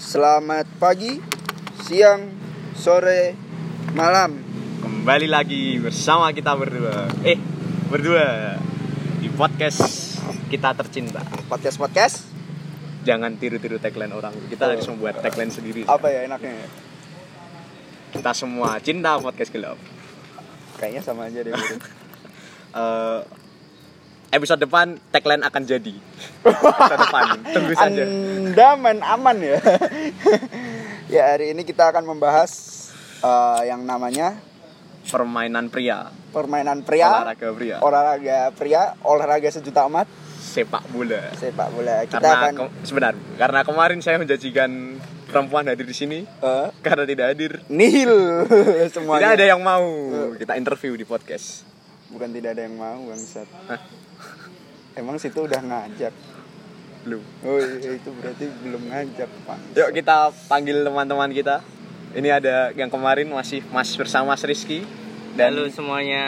Selamat pagi, siang, sore, malam. Kembali lagi bersama kita berdua. Eh, berdua di podcast kita tercinta. Podcast podcast Jangan tiru-tiru tagline orang. Kita harus membuat tagline sendiri. Oh. apa ya enaknya? ya? Kita semua cinta podcast gelap. Kayaknya sama aja deh. Bro. Eh, episode depan tagline akan jadi. Episode depan. Tunggu saja. Anda main aman ya. ya hari ini kita akan membahas eh, yang namanya Permainan pria, permainan pria, Olahraga pria. olahraga pria, olahraga sejuta amat, sepak bola. sepak bola. Kita Karena akan ke- sebentar, karena kemarin saya menjanjikan perempuan hadir di sini eh, karena tidak hadir. nihil semuanya. Eh. Tidak ada yang mau kita interview di podcast. Bukan tidak ada yang mau bangsat. Hah? Emang situ udah ngajak. Lu. Oh iya, itu berarti belum ngajak pak. Yuk kita panggil teman-teman kita. Ini ada yang kemarin masih Mas bersama Mas Rizky dan Halo semuanya.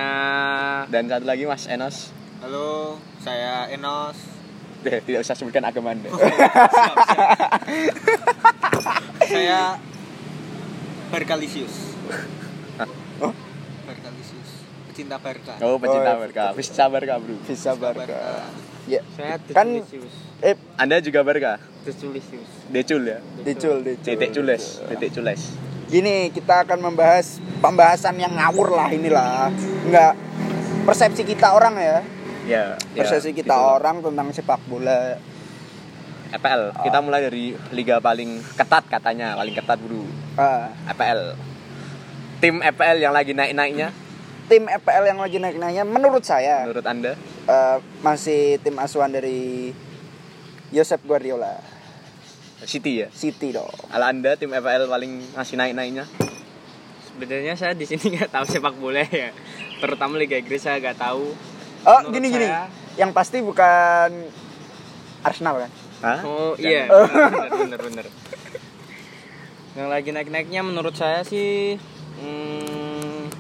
dan satu lagi Mas Enos. Halo, saya Enos. Deh, tidak usah sebutkan agama Anda. Saya Berkalisius. Hah? Oh? Berkalisius. Pecinta Berka. Oh, pecinta Oh, Barca. Bisa Barca, Bro. Visa Barca. Ya. Saya Kan Desulisius. eh Anda juga Barca. Desulisius. Decul ya. dicul dicul. Cetek cules, cetek cules. Gini kita akan membahas pembahasan yang ngawur lah inilah. Enggak persepsi kita orang ya. Ya, ya, Persepsi kita gitu. orang tentang sepak bola. EPL. E Kita mulai dari liga paling ketat katanya, paling ketat, Bro. Ah, EPL. Tim EPL yang lagi naik-naiknya tim EPL yang lagi naik-naiknya menurut saya menurut Anda? eh, masih tim asuhan dari Josep Guardiola. City ya. City dong. Ala Anda tim EPL paling masih naik-naiknya? Sebenarnya saya di sini nggak tahu sepak bola ya. Terutama Liga Inggris saya nggak tahu. Oh, Menurut gini gini. saya- Yang pasti bukan Arsenal kan? Hah? Oh iya, bener bener bener. Yang lagi naik-naiknya menurut saya sih hmm,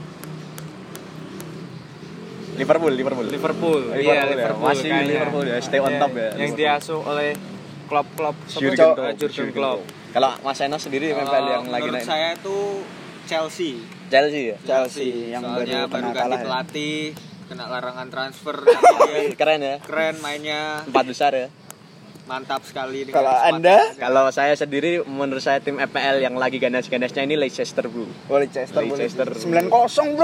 Liverpool, Liverpool. Liverpool. Liverpool ya, Iya, Liverpool. masih Liverpool ya, stay on Iya, top ya, Yang Liverpool. diasuh oleh klub-klub Jurgen Klopp. Ah, Jurgen Klopp. Kalau Mas Enos sendiri Oh, MPL yang lagi naik menurut saya itu Chelsea. Chelsea ya. Chelsea yang baru Soalnya baru pernah ganti kalah. ya. Iya, pelatih, kena larangan transfer, kemudian Keren ya. keren mainnya, Empat besar ya. mantap sekali. dengan Kalau squad. Anda Kalau saya sendiri menurut saya tim EPL yang lagi ganas-ganasnya ini Leicester Bro. boleh Chester, Leicester. 9-0 bro. 9-0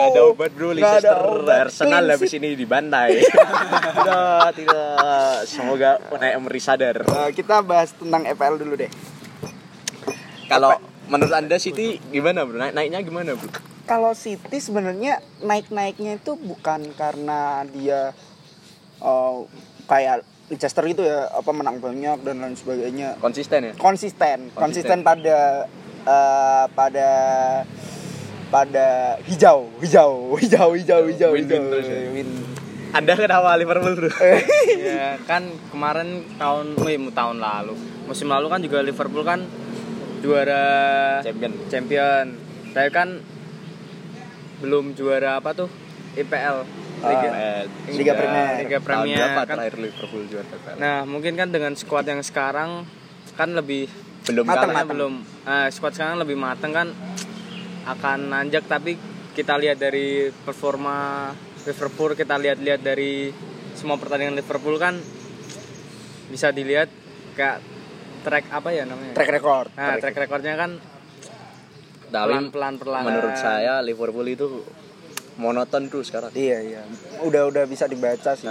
gak ada obat bro Nggak ada Leicester obat. Arsenal Clean habis sheet. ini dibantai Tidak, tidak Semoga Unai Emery sadar Eh, kita bahas tentang EPL dulu deh. Kalau menurut anda City gimana bro? Naik naiknya gimana bro? Kalau City sebenarnya naik-naiknya itu bukan karena dia eh, kayak Leicester gitu ya, apa menang banyak dan lain sebagainya. Konsisten ya? Konsisten, konsisten Konsisten. pada eh, pada pada hijau, hijau, hijau, hijau, hijau, Win-win hijau. terus ya. Win. Anda kenapa Liverpool bro? ya kan kemarin tahun, wih mu- tahun lalu, musim lalu kan juga Liverpool kan juara Champion champion. Saya kan belum juara apa tuh IPL. Liga. Eh, Liga sudah Premier. Liga tahun Premier, berapa kan? terakhir Liverpool juara EPL? Nah mungkin kan dengan skuad yang sekarang kan lebih belum Matang, kalah Karena belum eh, squad sekarang lebih mateng kan akan nanjak tapi kita lihat dari performa Liverpool kita lihat-lihat dari semua pertandingan Liverpool kan bisa dilihat kayak track apa ya namanya Track record. nah track recordnya kan Tapi pelan-pelan perlahan menurut saya Liverpool itu monoton terus sekarang Iya iya, udah udah bisa dibaca sih.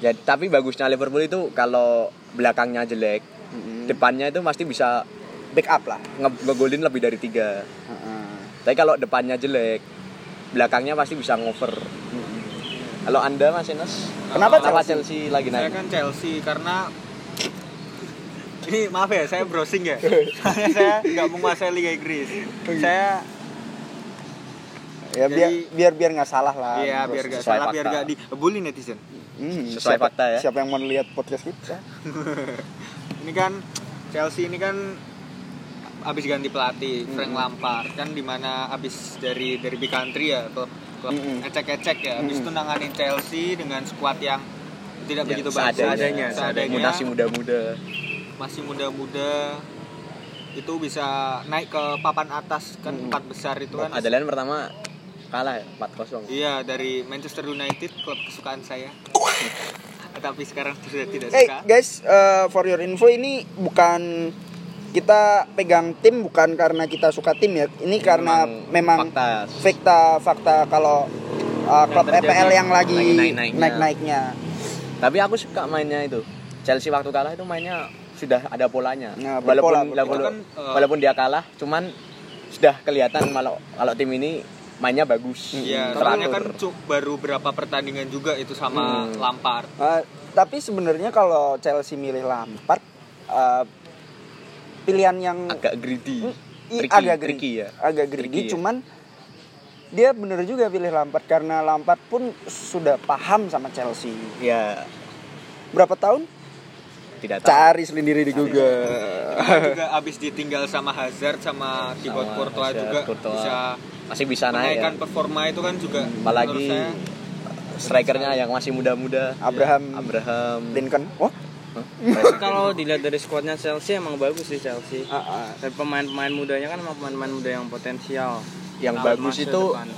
Ya, tapi bagusnya Liverpool itu kalau belakangnya jelek, depannya itu pasti bisa Back up lah. nge- ngegolin lebih dari tiga. Heeh. Tapi kalau depannya jelek, belakangnya pasti bisa ngover. Kalau anda Mas Enes, Kenapa kenapa Chelsea? Chelsea lagi Saya naik? kan Chelsea karena ini maaf ya, saya browsing ya. Soalnya saya nggak menguasai Liga Inggris. Oh iya. Saya Ya biar Jadi- biar biar nggak salah lah. ya Terus. biar nggak sesuai salah, biar fakta. nggak dibully netizen. Hmm, Sesuai siapa- fakta ya. Siapa yang mau lihat podcast kita? ini kan Chelsea ini kan abis ganti Hmm. pelatih Frank Lampard kan dimana abis dari dari big country ya klub klub Hmm. Mm-mm. ecek-ecek ya abis Mm-mm. itu nanganin Chelsea dengan squad yang Yang tidak kan begitu bagus Ya, seadanya, seadanya, seadanya. Masih muda-muda. masih muda-muda itu bisa naik ke papan atas kan Hmm. empat besar itu kan Andalan pertama kalah ya, 4-0. iya dari Manchester United klub kesukaan saya tapi sekarang sudah tidak Hey suka guys, eh, for your info ini bukan kita pegang tim bukan karena kita suka tim ya. Ini karena memang fakta. fakta-fakta kalau eh, klub terjadi, EPL yang lagi, lagi naik-naiknya. naik-naiknya. Tapi aku suka mainnya itu. Chelsea waktu kalah itu mainnya sudah ada polanya. Nah, berpola, berpola. walaupun walaupun, Itu kan, eh, walaupun dia kalah, cuman sudah kelihatan kalau kalau tim ini mainnya bagus. Iya, soalnya kan teratur. cu- baru berapa pertandingan juga itu sama Hmm. Lampard. Eh, tapi sebenarnya kalau Chelsea milih Lampard eh, pilihan yang agak greedy. Mm, I- Tricky, agak greedy, tricky ya. agak greedy, Tricky ya. cuman dia bener juga pilih Lampard karena Lampard pun sudah paham sama Chelsea. Ya, Berapa tahun? tidak tahu. Cari sendiri di Google. Kan juga abis ditinggal sama Hazard sama Thibaut Sama Courtois Hazard, juga Courtois. bisa Masih bisa naik ya. Mm, menaikkan performa itu kan juga Apalagi menurut saya strikernya yang masih muda-muda. Abraham- Abraham. Lincoln. Oh, Hah? kalau dilihat dari squadnya Chelsea emang bagus sih Chelsea ah, ah. dan pemain-pemain mudanya kan emang pemain-pemain muda yang potensial yang Nah, bagus masa itu depan.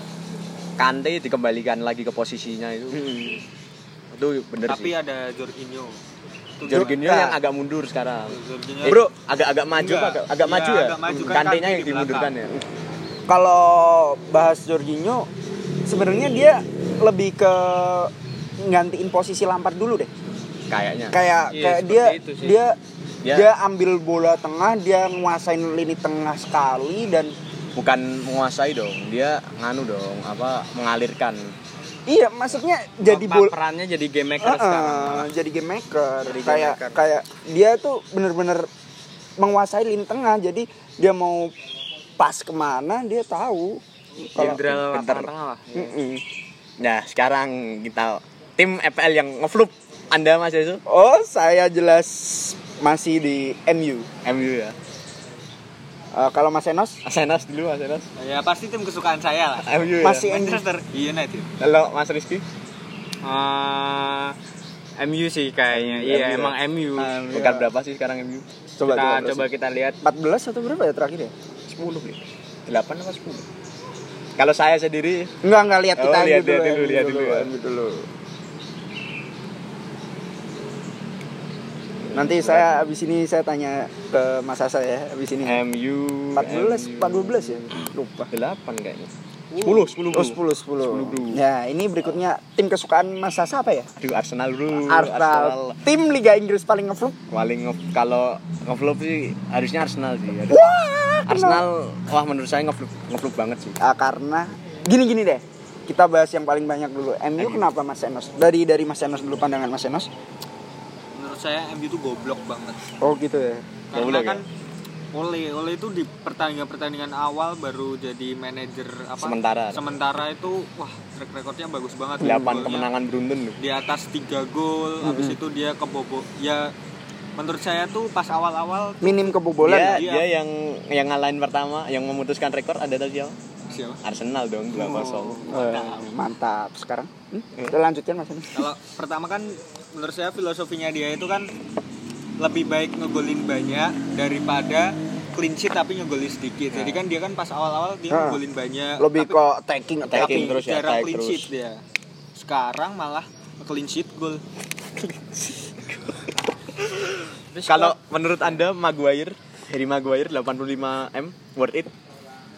Kante dikembalikan lagi ke posisinya itu. Hmm. Itu bener sih. tapi ada Jorginho. Itu Jorginho Nah. yang agak mundur sekarang. Jorginho. Eh, Bro, agak-agak maju Enggak. apa agak, agak Iya, maju ya. agak maju, kan Kantenya kaki yang di dimundurkan ya. belakang. Kalau bahas Jorginho, sebenarnya dia lebih ke nggantiin posisi Lampard dulu deh. Kayaknya. Kayak Iya, kayak seperti dia itu sih. dia Dia- dia ambil bola tengah, dia nguasain lini tengah sekali dan Bukan menguasai dong, dia nganu dong, apa mengalirkan. iya maksudnya jadi bola perannya jadi game maker Heeh, sekarang jadi game maker Jadi game kayak maker. kayak dia tuh bener-bener menguasai lini tengah jadi dia mau pas kemana dia tahu kalau jenderal pinter. lapangan tengah lah Mm-mm. Nah, sekarang kita tim EPL yang ngeflup Anda Mas Yesus, oh saya jelas masih di MU MU ya. Eh, kalau Mas Enos Asenas dulu Mas Enas. Ya pasti tim kesukaan saya lah. Iya, MU ya. Masih- Si Andy. Manchester United. Halo Mas Rizky. Ah, MU sih kayaknya iya MU. emang MU ya. Bukan berapa sih sekarang MU? coba kita coba, coba kita lihat 14 atau berapa ya terakhir ya 10 ya? 8 apa 10? Kalau saya sendiri enggak enggak lihat Oh, kita gitu kan. MU lihat- lihat dulu, MU lihat dulu ya. MU dulu. nanti saya abis ini saya tanya ke Mas Asa ya abis ini MU 14, 14 ya? Lupa. 8 kayaknya. 10, 10. Oh, 10, 10. 10, bro. Ya, ini berikutnya tim kesukaan Mas Sasa apa ya? Aduh Arsenal bro. Arsenal. Tim Liga Inggris paling ngeflop. Paling nge- kalau ngeflop sih harusnya Arsenal sih. Aduh. Wah, kenapa? Arsenal wah menurut saya ngeflop ngeflop banget sih. Ah, karena gini-gini deh. Kita bahas yang paling banyak dulu. MU kenapa Mas Enos? Dari dari Mas Enos dulu pandangan Mas Enos. Menurut saya MU itu goblok banget. Oh, gitu ya. Karena Goblok ya? kan Ole Ole itu di pertandingan pertandingan awal baru jadi manajer apa Sementara. sementara itu wah track recordnya bagus 8 banget Golnya kemenangan beruntun loh. di atas 3 gol habis itu dia kebobo ya menurut saya tuh pas awal-awal Minim kebobolan. Dia, iya. dia yang yang ngalahin pertama, yang memutuskan rekor ada tadi siapa? siapa Arsenal dong 2-0. Eh, mantap sekarang. Hmm? Kita lanjutkan Mas Enos. kalau pertama kan menurut saya filosofinya dia itu kan lebih baik ngegolin banyak daripada clean sheet tapi ngegolin sedikit Nah. jadi kan dia kan pas awal-awal dia Nah. ngegolin banyak Lebih tapi, ke attacking, attacking. attacking terus ya, jarang attack clean terus. sheet dia sekarang malah clean sheet gol Kalau menurut Anda Maguire, Harry Maguire 85M worth it?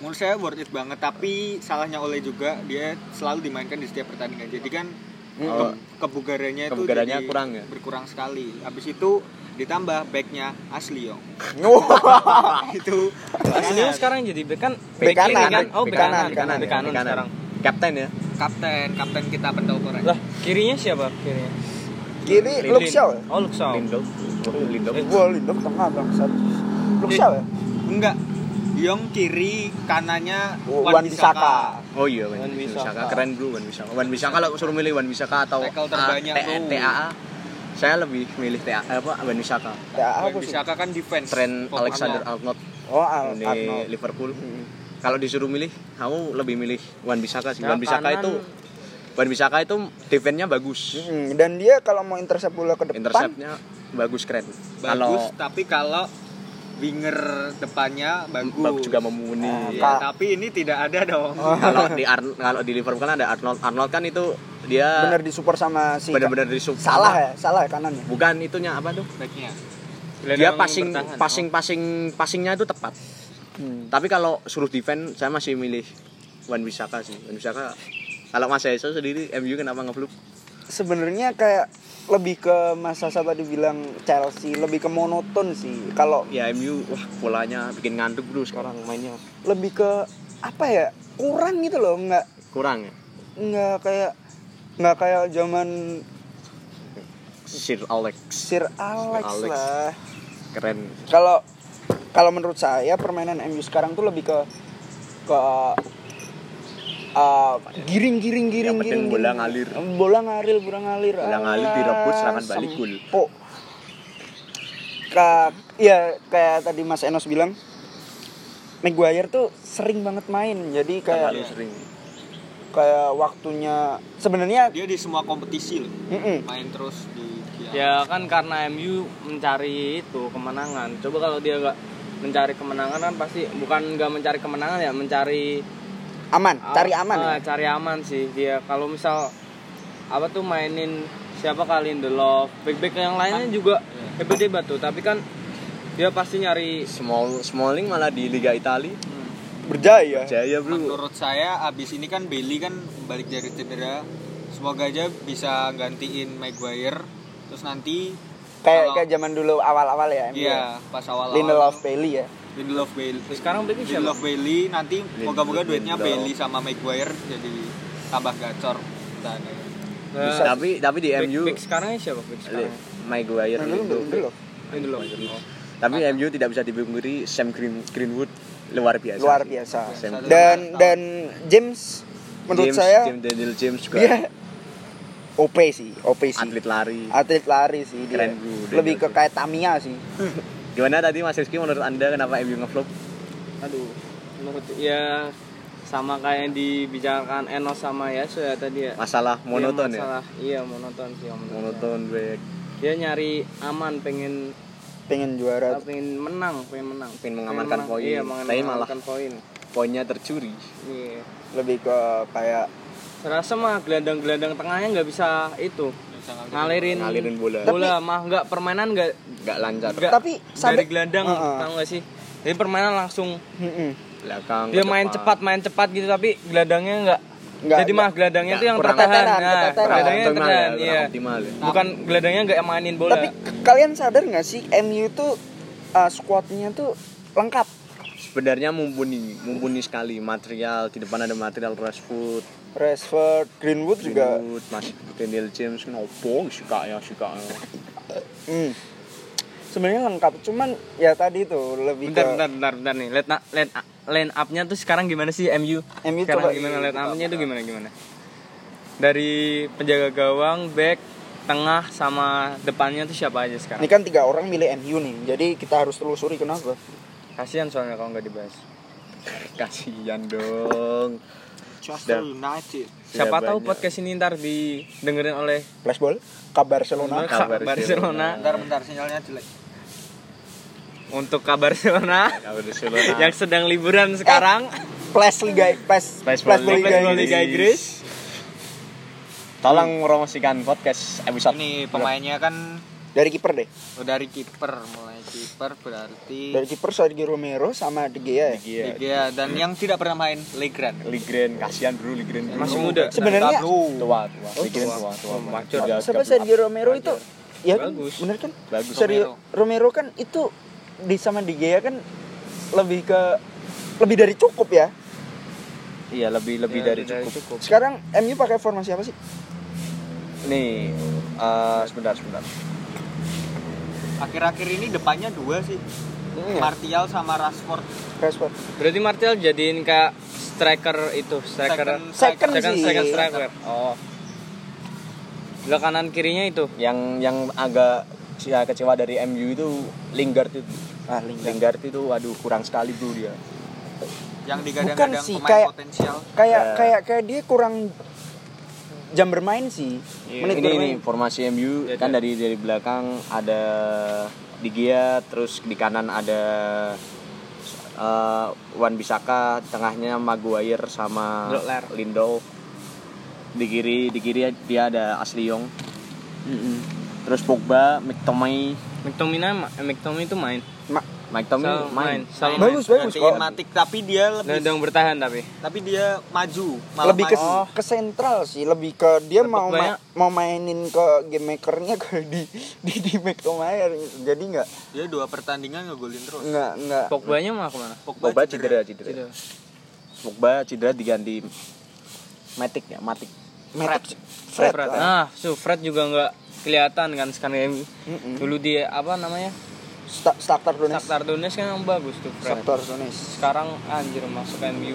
menurut saya worth it banget tapi salahnya oleh juga dia selalu dimainkan di setiap pertandingan jadi kan ke- kebugarannya itu Oh. Kebugarannya jadi kurang ya? berkurang sekali habis itu ditambah backnya Asli Yong itu ya, Aslinya sekarang jadi back kan Back kiri kanan, kan? oh back back kanan kanan, ya, back kanan sekarang Kapten ya. kapten kapten kita pendau korek lah kirinya siapa kirinya Kiri Lin- Luxel. oh Luxel Lindelof. Lindelof. Gua Lindelof tengah bangsat. Luxel ya? enggak Yong kiri kanannya Wan Bisaka. Oh iya, Wan Wan Bisaka. Bisaka. Keren bro Wan Bisaka. Wan Bisaka kalau suruh milih Wan Bisaka atau Tackle A- terbanyak, T- bro. TAA, saya lebih milih TAA apa Wan Bisaka. Ya, Wan apa sih? Bisaka kan defense Trent Fokusnya. Alexander Arnold Oh, Al- di Arnold. Liverpool. Kalau disuruh milih, kamu lebih milih Wan Bisaka sih. Wan Nah, Bisaka kanan- itu Wan Bisaka itu defense-nya bagus. Hmm, dan dia kalau mau intercept bola ke depan Intercept-nya bagus keren. bagus Kalau tapi kalau winger depannya bagus. Bagus juga memuni. Iya, Kak. tapi ini tidak ada dong. Kalau di Ar- kalau di Liverpool kan ada Arnold. Arnold kan itu dia bener disupport sama si benar-benar disupport. salah ya salah ya kanannya Bukan itunya apa tuh? Backnya. Dia passing passing passing passingnya itu tepat. oh. Hmm. Tapi kalau suruh defend saya masih milih Wan Bisaka sih. Wan Bisaka kalau Mas Ezo sendiri MU kenapa ngeflop? sebenarnya kayak lebih ke Mas Sasa tadi bilang Chelsea lebih ke monoton sih kalau Ya MU wah polanya bikin ngantuk bro sekarang mainnya lebih ke apa ya kurang gitu loh nggak kurang ya. nggak kayak nggak kayak zaman Sir Alex Sir Alex, Alex. lah keren. kalau kalau menurut saya permainan MU sekarang tuh lebih ke ke uh, giring giring giring Yang penting giring bola giring. ngalir. bola ngalir bola ngalir Bola Ah, ngalir direbut, serangan balik, gol. sempok. Ka- ya kayak tadi Mas Enos bilang Maguire tuh sering banget main jadi kayak Terlalu sering. kayak waktunya sebenarnya Dia di semua kompetisi loh. Mm-mm. Main terus di Iya, dia. Ya kan karena MU mencari itu kemenangan. Coba kalau dia nggak mencari kemenangan kan pasti bukan nggak mencari kemenangan ya mencari aman cari aman Ah, ya. cari aman sih dia kalau misal apa tuh mainin siapa kali in the love back back yang lainnya Ah. juga hebat hebat tuh tapi kan dia pasti nyari Small Smalling malah di Liga Italia berjaya jaya bro. Menurut saya abis ini kan Bailey kan balik dari cedera. Semoga aja bisa gantiin Maguire. Terus nanti kayak Kalau- kayak zaman dulu awal-awal ya MU Iya, pas awal ya. Lindelof Bailey ya Lindelof Bailey. sekarang backnya siapa? Lindelof Bailey nanti moga-moga duetnya Lindelof. Bailey sama Maguire jadi tambah gacor. Kita ada. eh, Tapi tapi di back, MU back sekarang siapa back sekarang Le- Maguire gitu. Nah, dulu itu. Lindelof. in the love Tapi MU tidak bisa dipungkiri Sam Green, Greenwood luar biasa. luar sih. biasa Iya, Sam Greenwood. dan dan James menurut James- saya Iya. James Daniel James juga dia OP sih OP sih atlet lari. Atlet lari sih dia Keren, bro. Dia lebih ke jago. kayak Tamiya sih Gimana tadi Mas Rizky menurut Anda kenapa MU ngeflop? aduh menurut ya sama kayak yang dibicarakan Enos sama Yasu ya tadi ya Masalah monoton Dia ya. masalah- iya monoton sih yang menurut saya. Monoton back dia nyari aman pengen pengen juara pengen menang pengen menang Pengen mengamankan menang. poin. iya, Tapi mengamankan malah- poin poinnya tercuri. iya lebih ke kayak Serasa mah gelandang-gelandang tengahnya nggak bisa itu ngalirin, Ngalirin bola. bola mah nggak permainan nggak Gak lancar. nggak Tapi sampai- dari gelandang Heeh. tau nggak sih jadi permainan langsung Mm-mm. Belakang. dia ke main depan. cepat main cepat gitu tapi gelandangnya nggak Nggak- jadi mah gelandangnya nggak, tuh yang kurang tertahan keteteran, nah, keteteran. Kurang gelandangnya yang optimal ya, tertahan kurang iya optimal ya. bukan gelandangnya nggak yang mainin bola tapi k- kalian sadar nggak sih MU tuh uh, squadnya tuh lengkap Sebenarnya mumpuni, mumpuni sekali material di depan ada material Rashford, Rashford Greenwood juga Greenwood, Mas Daniel James ngopo suka ya suka ya. Hmm. sebenarnya lengkap cuman ya tadi tuh lebih bentar ke bentar bentar bentar nih line up line, line up-nya tuh sekarang gimana sih MU MU sekarang coba- gimana line up-nya tuh gimana gimana dari penjaga gawang back tengah sama depannya tuh siapa aja ini sekarang kan tiga orang milih MU nih jadi kita harus telusuri kenapa kasihan soalnya kalau nggak dibahas Kasihan dong. Manchester United. Sudah siapa tahu Iya, banyak. podcast ini ntar didengerin oleh flashball kabar Barcelona Nah, Kabar Barcelona, Barcelona. Bentar bentar sinyalnya jelek. untuk kabar Barcelona Kalau Barcelona. yang sedang liburan sekarang Eh, flash liga flash Flashball flashball liga Flashball Inggris. Liga Inggris. Tolong promosikan podcast episode Ini pemainnya kan dari kiper deh dari kiper mulai kiper berarti dari kiper Sergio Romero sama De Gea ya Iya. Iya dan yang tidak pernah main Legran. Ligren kasihan bro Ligren. Masih muda. Sebenarnya- tua tua. Ligren tua tua. wajar. Tiga- sama tiga Sergio Romero itu ya kan Bagus. bener kan Bagus. Sergio Romero kan itu di sama De Gea kan lebih ke lebih dari cukup ya belas. Iya lebih lebih Ya, dari cukup. sekarang MU pakai formasi apa sih Nih eh, sebentar sebentar. Akhir-akhir ini depannya dua sih. Iya. Iya. Martial sama Rashford. Rashford berarti Martial jadiin kayak striker itu striker Second- Kan Kan second, second sih second striker oh sebelah kanan kirinya itu Yang yang agak ya, kecewa dari MU itu Lingard itu. Ah, Lingard. Lingard itu aduh kurang sekali bro dia. Yang Bukan digadang-gadang sih, pemain kayak- potensial. kayak Iya. Ya. kayak kayak dia kurang jam bermain sih Iya. menit Ini bermain ini formasi MU Iya, kan iya. dari dari belakang ada di Gia terus di kanan ada eh, Wan Bisaka di tengahnya Maguire sama Ler. Lindow di kiri di kiri dia ada Asli Yong terus Pogba McTominay McTominay ma- eh, McTominay itu main. Ma- McTominay Selalu main, Selalu main. bagus bagus kok. Matic tapi dia lebih Gelandang bertahan tapi. tapi dia maju malah lebih ke maju. ke sentral sih lebih ke dia mau ma- banyak. mau mainin ke game makernya ke di di di McTominay jadi nggak dia dua pertandingan ngegolin terus nggak nggak Pogba-nya mah kemana? Pogba cedera cedera Tidak. Pogba cedera diganti Matic ya Matic Matic- Fred. Fred, lah. Nah, so Fred juga nggak kelihatan kan sekarang ini. Dulu dia apa namanya? Sta- starter Donetsk Shakhtar Donetsk kan yang bagus tuh Fred. starter Donetsk Sekarang anjir masuk MU.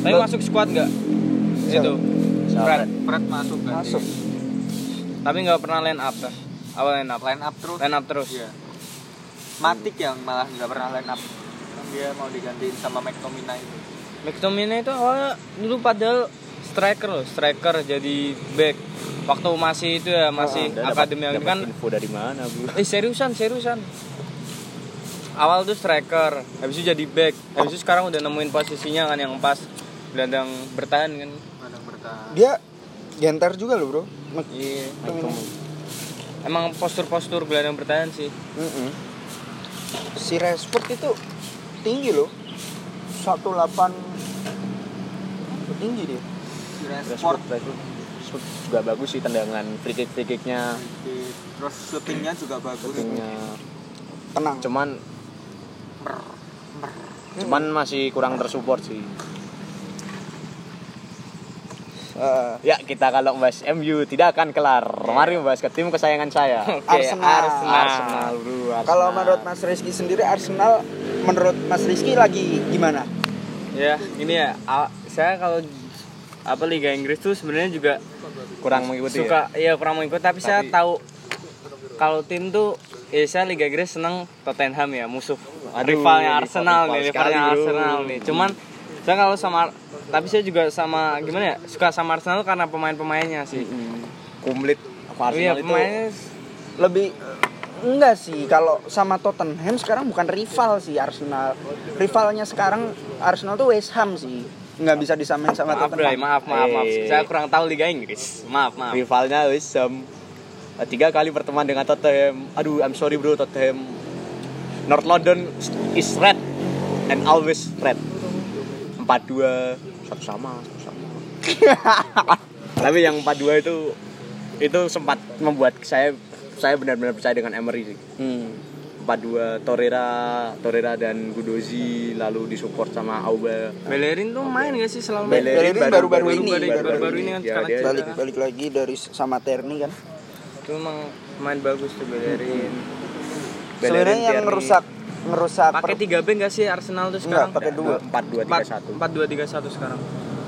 Tapi masuk squad nggak? Siapa? Itu. Sama Fred. Fred masuk kan masuk Tapi nggak pernah line up dah. Awal line up. line up terus Line up terus. Iya. Matic yang malah nggak pernah line up dia mau digantiin sama McTominay itu McTominay itu awalnya dulu padahal striker loh, striker jadi back. Waktu masih itu ya masih Anda Ah, dapat- akademi dapat kan info dari mana bu Eh seriusan, seriusan. Awal tuh striker, habis itu jadi back, habis itu sekarang udah nemuin posisinya kan yang pas gelandang bertahan kan. gelandang bertahan dia genter juga loh bro Mc- Iya. McTominay. Emang postur-postur gelandang bertahan sih. Mm-mm. si Rashford itu tinggi loh 188 tinggi dia Si Rashford, Rashford Rashford Rashford juga bagus sih tendangan free kick free kicknya di- terus shootingnya juga bagus Shootingnya. tenang cuman cuman masih kurang tersupport sih Eh, ya kita kalau membahas MU tidak akan kelar mari membahas ke tim kesayangan saya Arsenal. Arsenal. Arsenal bro Arsenal. kalau menurut Mas Rizky sendiri Arsenal menurut Mas Rizky lagi gimana Ya, ini ya a- saya kalau apa Liga Inggris tuh sebenarnya juga kurang mengikuti ya? suka ya kurang mengikut tapi, saya tahu kalau tim tuh ya saya Liga Inggris senang Tottenham ya musuh Aduh, rivalnya rival- Arsenal rival nih sekali, rivalnya bro. Arsenal nih cuman saya kalau sama tapi saya juga sama gimana ya suka sama Arsenal karena pemain-pemainnya sih kumlit iya Arsenal itu pemainnya lebih enggak sih kalau sama Tottenham sekarang bukan rival sih Arsenal rivalnya sekarang Arsenal tuh West Ham sih nggak bisa disamain sama maaf Bray, Tottenham maaf maaf maaf Eh. Iya. saya kurang tahu Liga Inggris maaf maaf rivalnya West Ham tiga kali berteman dengan Tottenham aduh I'm sorry bro Tottenham North London is red and always red empat dua satu sama satu sama tapi yang empat dua itu itu sempat membuat saya saya benar-benar percaya dengan Emery sih Hmm. empat dua Torreira Torreira dan Gudozi lalu disupport sama Auba Bellerin tuh main gak sih selama Bellerin baru-baru ini, baru-baru ini kan Ya, sekarang dia- balik balik lagi dari sama Terni kan itu emang main bagus tuh Bellerin Bellerin, sebenarnya yang Tierney. ngerusak ngerusak pakai per- 3 back gak sih Arsenal tuh Enggak, sekarang pakai dua. empat dua tiga satu 4-2-3-1 sekarang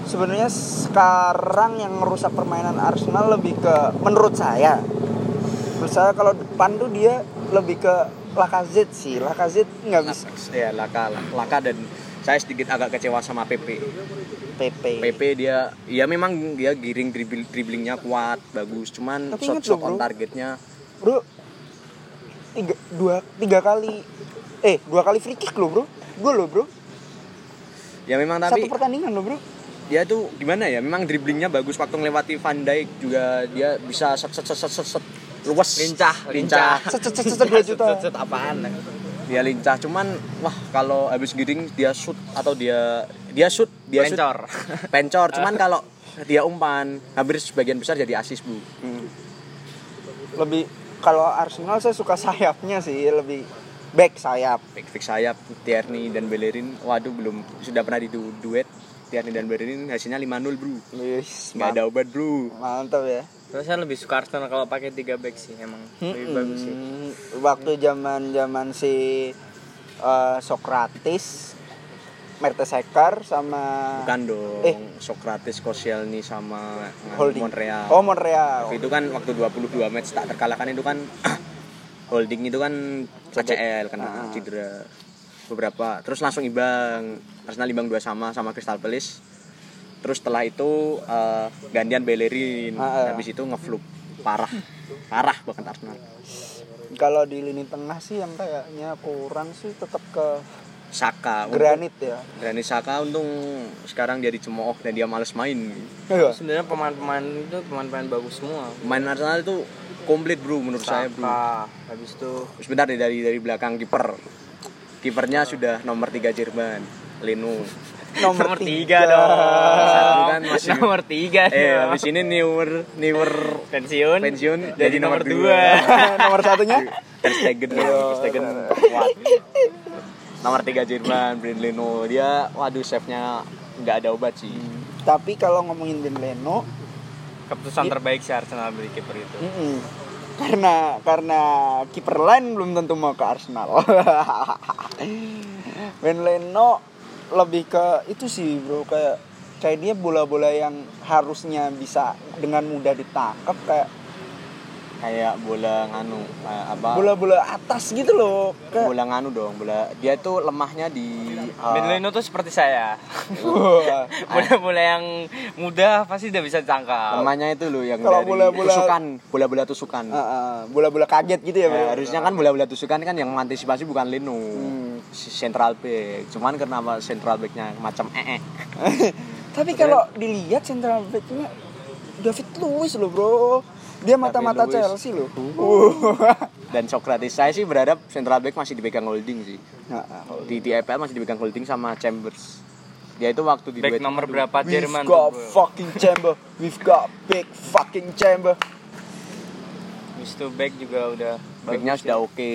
sebenarnya sekarang yang ngerusak permainan Arsenal lebih ke menurut saya menurut saya kalau depan tuh dia lebih ke Lacazette sih Lacazette Nah, nggak bisa ya laka laka dan saya sedikit agak kecewa sama PP PP PP dia ya memang dia giring dribble, dribblingnya kuat bagus cuman Tapi shot inget loh, shot on bro. targetnya bro tiga dua tiga kali eh dua kali free kick lo bro gue lo bro ya memang satu tapi pertandingan lo bro dia tuh gimana ya memang dribblingnya bagus waktu melewati Van Dijk juga dia bisa set set set set set, set luas Lincah, lincah set set set set dua juta set apaan dia lincah cuman wah kalau habis giring dia shoot atau dia dia shoot dia shoot Pencor. pencor cuman kalau dia umpan hampir sebagian besar jadi asis bu Hmm. lebih kalau Arsenal saya suka sayapnya sih lebih back sayap back fix sayap Tierney dan Bellerin waduh belum sudah pernah di du- duet Tierney dan Bellerin hasilnya 5-0 bro Wis, nggak ada obat bro mantap ya terus saya lebih suka Arsenal kalau pakai 3 back sih emang lebih bagus sih Hmm, waktu zaman zaman si eh, Socrates Mertesacker sama bukan dong Eh. Socrates Koscielny sama eh, Holding Monreal oh Monreal itu kan waktu 22 match tak terkalahkan itu kan holding itu kan ACL Ah, kena cedera beberapa terus langsung imbang Arsenal imbang dua sama sama Crystal Palace terus setelah itu eh, gantian Bellerin Ah, ah. habis itu ngefluk parah parah bahkan Arsenal Kalau di lini tengah sih yang kayaknya kurang sih tetap ke Saka untung- granit ya. Granit Saka untung sekarang dia dicemooh dan dia males main Iya. Sebenarnya pemain-pemain itu pemain-pemain bagus semua. main Arsenal itu komplit bro menurut saya bro Saka, habis itu sebentar deh dari dari belakang kiper kipernya sudah nomor 3 Jerman Leno nomor Satu tiga dong. kan masih- nomor tiga eh dong. habis ini newer newer pensiun, pensiun jadi jadi nomor nomor Iya, dua. Nomor satunya Ter Stegen, Ter Stegen kuat. Nomor 3 Jerman, Brian Leno. Dia waduh save-nya nggak ada obat sih. tapi kalau ngomongin Ben Leno Keputusan terbaik si Arsenal beli kiper itu. mm-mm. karena karena kiper lain belum tentu mau ke Arsenal Ben Leno lebih ke itu sih bro kayak kayak dia bola-bola yang harusnya bisa dengan mudah ditangkap kayak Kayak bola nganu eh, apa? Bola bola-bola atas gitu loh kayak bola nganu dong, bola. Dia itu lemahnya di eh, Ben Leno tuh seperti saya. Bola-bola yang mudah pasti udah bisa tangkap. lemahnya itu loh yang Kalau dari bola-bola- tusukan, bola-bola tusukan. Ah, ah, bola-bola kaget gitu ya Eh, bro harusnya kan bola-bola tusukan kan yang mengantisipasi bukan Leno. Hmm. Si Central back. Cuman kenapa central back-nya macam ee. Tapi kalau dilihat central back-nya David Luiz loh bro. Dia mata-mata David Luiz. Chelsea loh. Uh. Dan Socrates saya sih berharap central back masih dipegang holding sih. di di EPL masih dipegang holding sama Chambers dia itu waktu di duet Back nomor berapa We've Ah, Jerman tuh, got bro? fucking chamber. We've got big fucking chamber. Habis itu back juga udah backnya bagus sudah ya. oke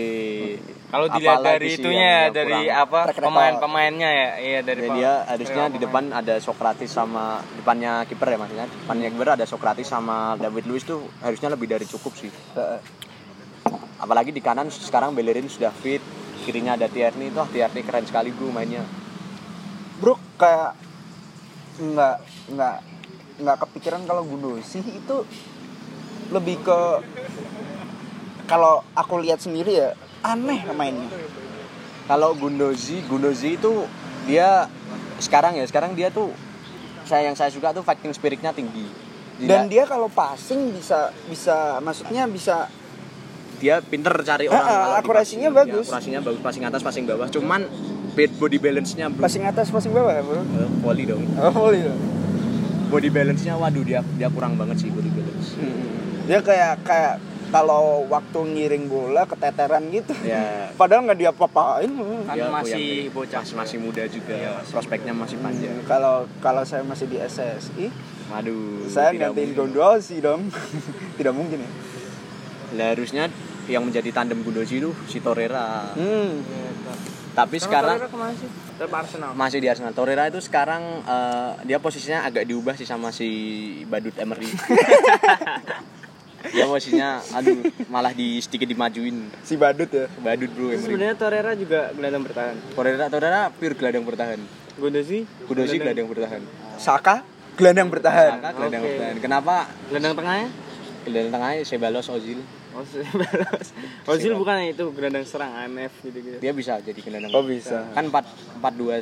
Kalau dilihat Apalagi dari sih itunya yang- ya, yang dari kurang. apa Track record. pemain-pemainnya ya, iya dari Jadi pem- dia harusnya pemain. di depan ada Socrates sama depannya kiper ya maksudnya depannya kiper ada Socrates sama David Luiz tuh harusnya lebih dari cukup sih Eh, Heeh. apalagi di kanan sekarang Bellerin sudah fit kirinya ada Tierney tuh Tierney keren sekali bro mainnya Bro kayak nggak nggak nggak kepikiran kalau Gundosi itu lebih ke kalau aku lihat sendiri ya aneh mainnya. kalau Gundozi Gundozi itu dia sekarang ya sekarang dia tuh saya yang saya suka tuh fighting spiritnya tinggi Dan dia kalau passing bisa bisa maksudnya bisa dia pinter cari orang Ah, ah, kalau di akurasinya passing. Ya, bagus. akurasinya bagus passing atas passing bawah cuman bad body balance nya bro passing atas passing bawah ya bro. Eh, volley dong Oh iya. body balance nya waduh dia dia kurang banget sih body balance Hmm. Dia kayak kayak kalau waktu ngiring bola keteteran gitu. ya Padahal nggak diapa-apain. Kan dia masih goyang deh. bocah. Iya. masih, masih muda juga prospeknya masih panjang Hmm, Kalau kalau saya masih di SSI, waduh saya tidak gantiin mungkin. Gondosi dong. tidak mungkin ya. Lah, harusnya yang menjadi tandem Gundozi itu si Torreira Hmm. tapi sekarang kemana sih? Tetap Arsenal. masih di Arsenal Torreira itu sekarang eh, dia posisinya agak diubah sih sama si Badut Emery dia posisinya aduh malah di sedikit dimajuin Si badut ya. Badut bro Terus Emery sebenarnya Torreira juga gelandang bertahan. Torreira Torreira pure gelandang bertahan Gundosi Kudosi gelandang bertahan Saka gelandang bertahan. Saka gelandang Oke. bertahan kenapa gelandang tengahnya? gelandang tengahnya Sebalos Ozil Ozil balas. Ozil bukan itu gelandang serang AMF gitu-gitu. dia bisa jadi gelandang Oh, bisa. kan 4 4 2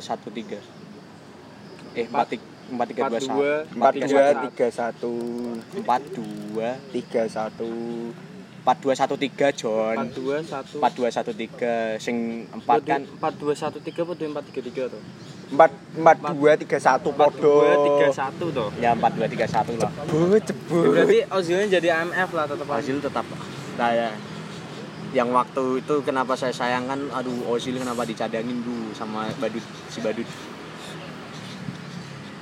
1 3 eh 4 4 3 2 Empat 1 dua tiga satu 4 2 tiga satu. 4 2 1 3 John 4-2-1 4 2 1 3 sing 4 4 kan 4-2-1-3 4-2-4-3-3 tuh. Empat empat dua tiga satu podo. 4-2-3-1 tuh. ya 4 2 3 1 lah Cebut cebut. Berarti Ozilnya jadi AMF lah tetap aja. Ozil tetap saya yang waktu itu kenapa saya sayangkan aduh Ozil kenapa dicadangin dulu sama badut si badut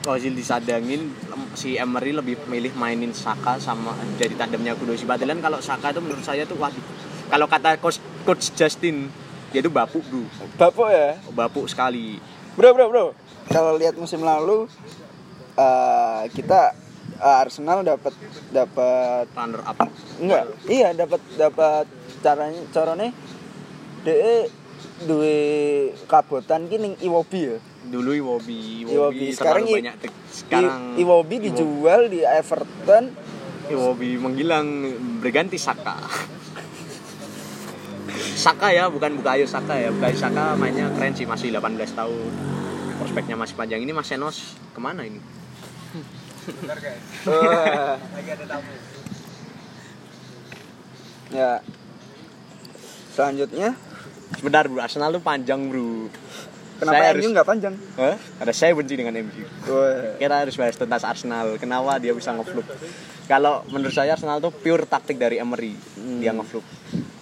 Ozil dicadangin lem- si Emery lebih milih mainin Saka sama jadi tandemnya Kudosi Padahal kan kalau Saka itu menurut saya tuh waduh kalau kata coach, coach Justin dia tuh bapuk bro Bapak ya. bapuk sekali Bro, bro, bro. Kalau lihat musim lalu eh, kita eh, Arsenal dapat dapat runner up enggak? Iya, dapat dapat caranya carane DE duwe kabotan ki ning Iwobi ya. dulu Iwobi Iwobi. Iwobi, Sekarang terlalu I- banyak tek- sekarang I- Iwobi dijual di Everton. Iwobi menghilang berganti Saka. Saka ya, bukan Bukayo Saka ya. Bukayo Saka mainnya keren sih, masih 18 tahun. Prospeknya masih panjang. Ini Mas Senos kemana ini? Wah. ya. Selanjutnya, Sebentar bro, Arsenal tuh panjang bro. Saya kenapa MU harus- nggak panjang? Hah? Ada saya benci dengan MU. Wah, Kita harus bahas tentang Arsenal. Kenapa dia bisa ngefluk? Kalau menurut saya Arsenal tuh pure taktik dari Emery. Dia ngefluk.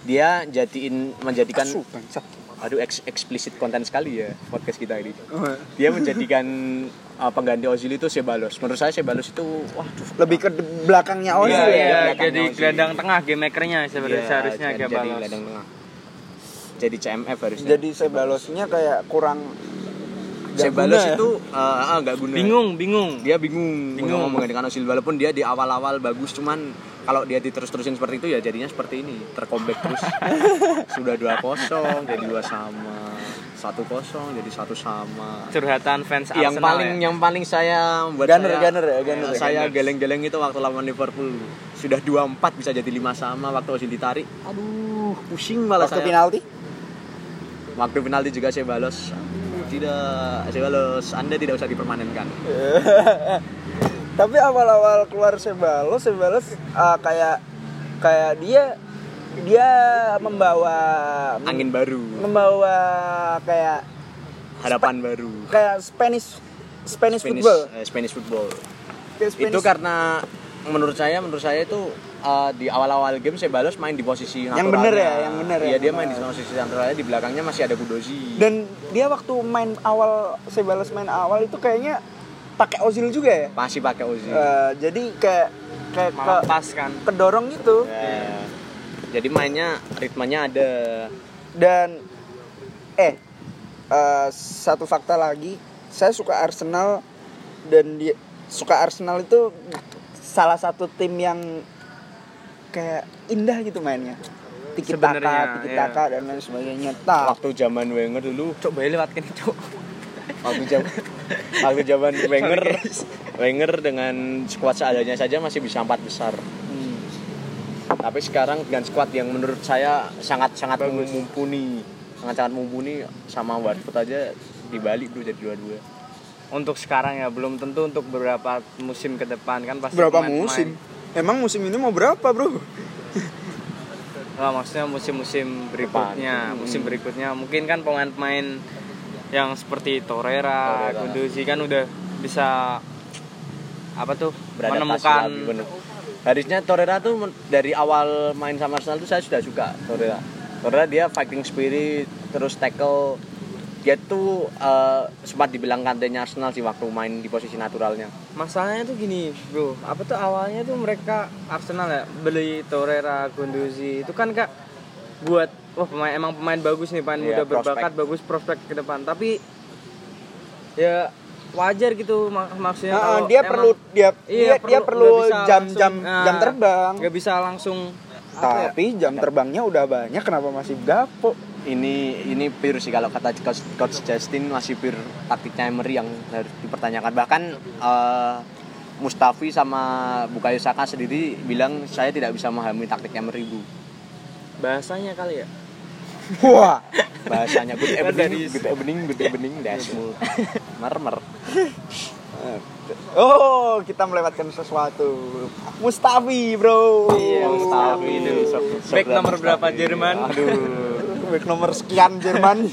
Dia jadiin menjadikan asu, bangsat. aduh eks- eksplisit konten sekali ya podcast kita ini. Wah. Dia menjadikan uh, pengganti Ozil itu Sebalos. Menurut saya Sebalos itu waduh Lebih ke de- belakangnya Ozil Iya, Iya, ya. iya, jadi belakangnya Ozil. gelandang tengah game makernya sebenarnya Iya, seharusnya jadi- agak jadi balas. gelandang tengah. Jadi CMF harusnya. Jadi Sebalosnya kayak kurang nggak Sebalos guna ya. itu uh, uh, nggak guna. Bingung, bingung. dia bingung, Bingung. bingung. menggantikan Ozil walaupun dia di awal-awal bagus cuman kalau dia diterus-terusin seperti itu ya jadinya seperti ini terkombek terus sudah 2-0 jadi 2 sama 1-0 jadi 1 sama Curhatan fans Iya. yang Arsenal paling ya. yang paling saya buat Gunner, saya, gunner ya, gunner. eh, saya geleng-geleng itu waktu lawan Liverpool sudah 2-4 bisa jadi 5 sama waktu Ozil ditarik aduh pusing malah Waktu saya penalti, waktu penalti juga saya balas tidak saya balas Anda tidak usah dipermanenkan tapi awal-awal keluar Sebalos, Sebalos eh, kayak kayak dia dia membawa angin baru membawa kayak harapan baru kayak Spanish Spanish, Spanish football. eh, Spanish football. Kayak Spanish- Itu karena menurut saya menurut saya itu eh, di awal-awal game saya balas main di posisi Yang naturalnya. bener ya, yang bener ya, Iya, dia bener. main di posisi naturalnya di belakangnya masih ada Budozi. dan dia waktu main awal Sebalos main awal itu kayaknya pakai Ozil juga ya. Masih pakai Ozil. Eh, jadi kayak kayak malah ke- pas kan. kedorong gitu Ya. Jadi mainnya ritmenya ada dan eh eh, satu fakta lagi saya suka Arsenal dan dia suka Arsenal itu salah satu tim yang kayak indah gitu mainnya tiki taka Sebenarnya, iya. tiki taka dan lain sebagainya tak waktu zaman Wenger dulu, Cuk, bayi lewat kene, Cuk. waktu zaman waktu zaman Wenger Wenger dengan skuad seadanya saja masih bisa empat besar. tapi sekarang dengan squad yang menurut saya sangat sangat mumpuni sangat sangat mumpuni sama Watford aja dibalik dulu jadi dua-dua Untuk sekarang ya belum tentu untuk beberapa musim ke depan kan pasti berapa pemain-pemain- musim emang musim ini mau berapa bro Nah, maksudnya musim-musim berikutnya, musim Hmm. berikutnya mungkin kan pemain-pemain yang seperti Torreira, Torreira. Guendouzi kan udah bisa apa tuh beradaptasi menemukan lagi, bener. harusnya Torreira tuh men- dari awal main sama Arsenal tuh saya sudah suka Torreira Torreira dia fighting spirit terus tackle dia tuh eh, sempat dibilang kantenya Arsenal sih waktu main di posisi naturalnya masalahnya tuh gini bro apa tuh awalnya tuh mereka Arsenal ya beli Torreira Guendouzi itu kan kak buat wah pemain emang pemain bagus nih pemain Iya, muda berbakat prospek. bagus prospek ke depan tapi ya wajar gitu mak- maksudnya Nah, kalau dia emang- perlu dia dia, iya, dia perlu nggak bisa jam-jam langsung, nah, jam terbang Nah. nggak bisa langsung apa ya, tapi jam terbangnya udah banyak kenapa masih gapo ini ini pure sih kalau kata coach, coach Justin masih pure taktiknya Emery yang harus dipertanyakan bahkan eh, Mustafi sama Bukayo Saka sendiri bilang saya tidak bisa memahami taktik Emery bu bahasanya kali ya wah bahasanya good Kan evening good evening good evening Iya. dasmu mermer Oh, kita melewatkan sesuatu. Mustafi, bro. iya Mustafi itu Back nomor berapa Jerman? aduh Back nomor sekian Jerman.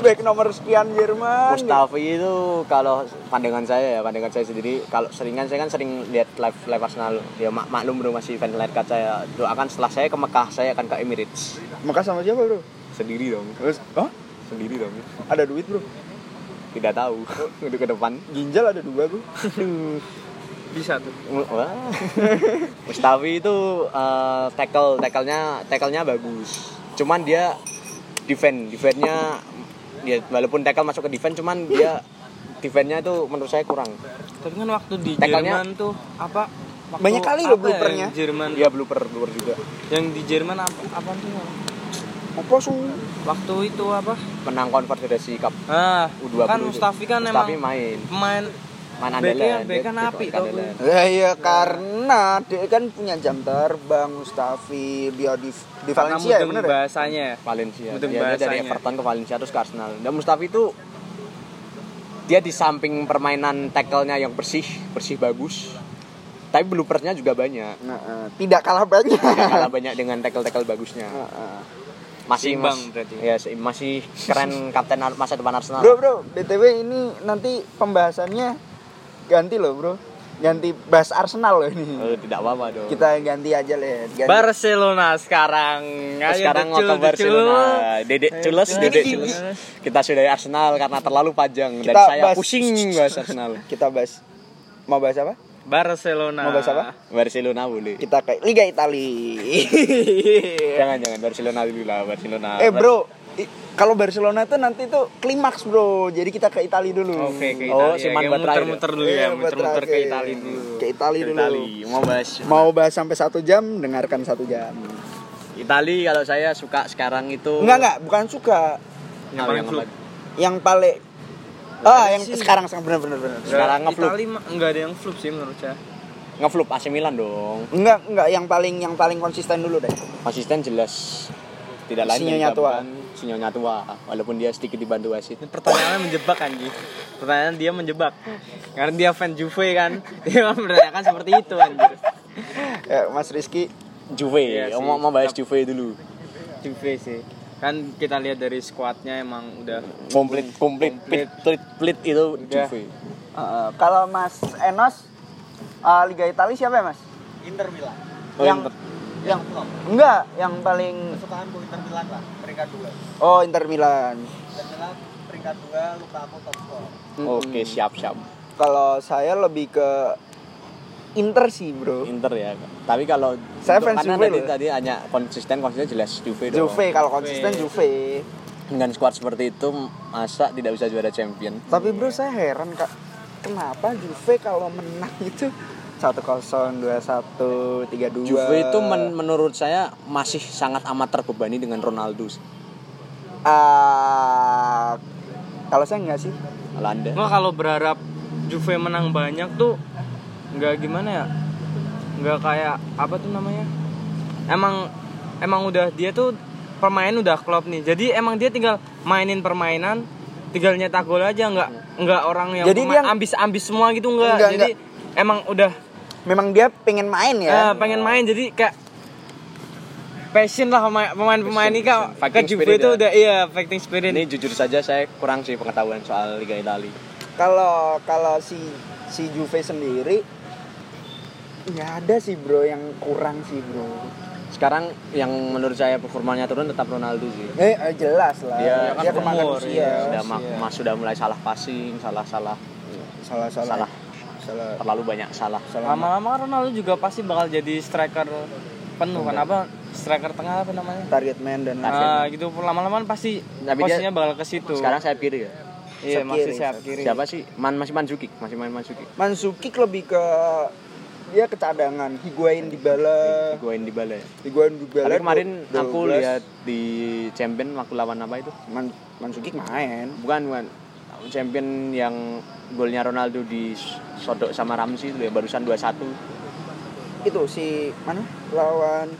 Back nomor sekian Jerman. Mustafi itu kalau pandangan saya ya pandangan saya sendiri kalau seringan saya kan sering lihat live live Arsenal ya mak maklum dong masih fan layar kaca ya doakan setelah saya ke Mekah saya akan ke Emirates Maka sama siapa, bro? sendiri dong Terus, oh, sendiri dong ada duit, bro. tidak tahu untuk ke depan Ginjal ada dua, bro. bisa tuh Wah. Mustafi itu eh, tackle tackle-nya tackle-nya bagus cuman dia defend defend-nya dia walaupun tackle masuk ke defense cuman dia defend-nya itu menurut saya kurang tapi kan waktu di Tackle-nya- Jerman tuh apa waktu Banyak kali loh apa ya bloopernya. yang Jerman dia Iya, blooper blooper juga yang di Jerman apa, apa tuh Apa su? waktu itu apa menang konfederasi cup ah U20 kan itu. Mustafi kan Mustafi emang main pemain main Beknya- andalan bek kan Dia- api dia tau gue. andalan. Ya, iya, karena dia kan punya jam terbang Mustafi dia di di karena Valencia, ya, mudeng bener ya? bahasanya ya Valencia. Mudeng Iya, dia dari bahasanya. Everton ke Valencia terus ke Arsenal. Dan Mustafi itu dia di samping permainan tackle-nya yang bersih, bersih bagus. tapi bloopernya juga banyak Nah, eh, tidak kalah banyak. kalah banyak dengan tackle-tackle bagusnya Nah, eh. masih Seimbang mas- berarti. ya seim- masih keren kapten Ar- masa depan Ah. Arsenal Bro, bro, BTW ini nanti pembahasannya ganti loh, Bro. Ganti bahas Arsenal loh ini. Eh, tidak apa-apa dong Kita ganti aja lah. Ganti. Barcelona iya. Oh, sekarang. Nah, Ayo, sekarang decul, ngotot Barcelona decul. dedek cules cules. dedek Gini, cules kita sudah Arsenal karena terlalu panjang dan Kita saya bahas- pusing bahas Arsenal Kita bahas mau bahas apa? Barcelona. Mau bahas apa? Barcelona boleh Kita kayak Liga Itali. jangan jangan Barcelona dulu lah Barcelona eh, Bro, i- kalau Barcelona tuh nanti tuh klimaks, Bro. Jadi kita ke Itali dulu. Oke, ke Oh, Italia. si Man Kayak buat terakhir. muter-muter dulu ya, Iya, buat muter-muter ke terakhir. Italia dulu. Ke Itali dulu. Itali mau bahas Mau bahas sampai satu jam, dengarkan satu jam. Itali kalau saya suka sekarang itu Enggak enggak, bukan suka. yang Yang paling yang flu. apa? Yang paling Ah, yang sekarang sekarang bener bener bener. Sekarang nge-flop. Italia mah nggak ada yang flup sih menurut saya. Nge-flop AC Milan dong Enggak, enggak yang paling yang paling konsisten dulu deh. konsisten jelas tidak lain Sinyonya dan tua. bukan sinyonya tua walaupun dia sedikit dibantu wasit Ini pertanyaannya menjebak anji. Pertanyaan dia menjebak. Karena dia fan Juve kan. Dia mempertanyakan seperti itu anjir. Ya, Mas Rizky Juve Iya sih. mau, mau bahas Juve dulu Juve sih. Kan kita lihat dari squadnya emang udah komplit komplit plit, plit, plit itu Udah. Juve Uh, kalau Mas Enos uh, Liga Italia siapa ya Mas? Inter Milan. Oh, yang Inter. yang enggak yang paling Kesukaanku Inter Milan lah, peringkat dua. oh Inter Milan. Inter Milan peringkat dua, lupa aku top score. oke siap siap Kalau saya lebih ke Inter sih bro. Inter ya tapi kalau Saya untuk- fans karena Juve tadi, loh. tadi hanya konsisten konsisten jelas Juve dong Juve kalau konsisten Juve. dengan squad seperti itu masa tidak bisa juara champion Tapi bro Iya. saya heran kak kenapa Juve kalau menang itu satu kosong dua satu tiga dua. Juve itu men- menurut saya masih sangat amat terbebani dengan Ronaldo Ah, kalau saya enggak sih. Landa Nggak kalau berharap Juve menang banyak tuh nggak gimana ya? Nggak kayak apa tuh namanya? Emang emang udah dia tuh permain udah klop nih. Jadi emang dia tinggal mainin permainan, tinggal nyetak gol aja nggak nggak orang yang Jadi pemain dia- ambis-ambis semua gitu nggak. Nggak, Jadi emang udah Memang dia pengen main ya. eh, Ah, pengen main jadi kayak passion lah pemain- pemain-pemain ini kak passion. ke Fighting Juve spirit itu ya. udah iya fighting spirit. ini jujur saja saya kurang sih pengetahuan soal Liga Italia Kalau kalau si si Juve sendiri nggak ada sih bro yang kurang sih bro. sekarang yang menurut saya performanya turun tetap Ronaldo sih Eh eh, jelas lah. Dia- Dia, kan kemakan umur, usia. iya. sudah ma- ma- sudah mulai salah passing salah salah Salah salah. Salah. Salah. terlalu banyak salah salah. lama-lama kan Ronaldo juga pasti bakal jadi striker penuh kan apa striker tengah apa namanya Target man dan lain nah gitu lama-lama kan pasti Tapi dia- posisinya bakal ke situ sekarang saya kiri ya iya sayap masih kiri, sayap sayap kiri siapa sih man masih Manzukic masih main Manzukic Mansuki lebih ke dia ke cadangan, higuain di bala, Gue di balai higuain di bala. tapi ya. kemarin dua- aku 12. lihat di champion aku lawan apa itu Man, Mansuki main. bukan bukan champion yang golnya Ronaldo disodok sama Ramsey itu ya barusan 2-1 Itu si mana? Lawan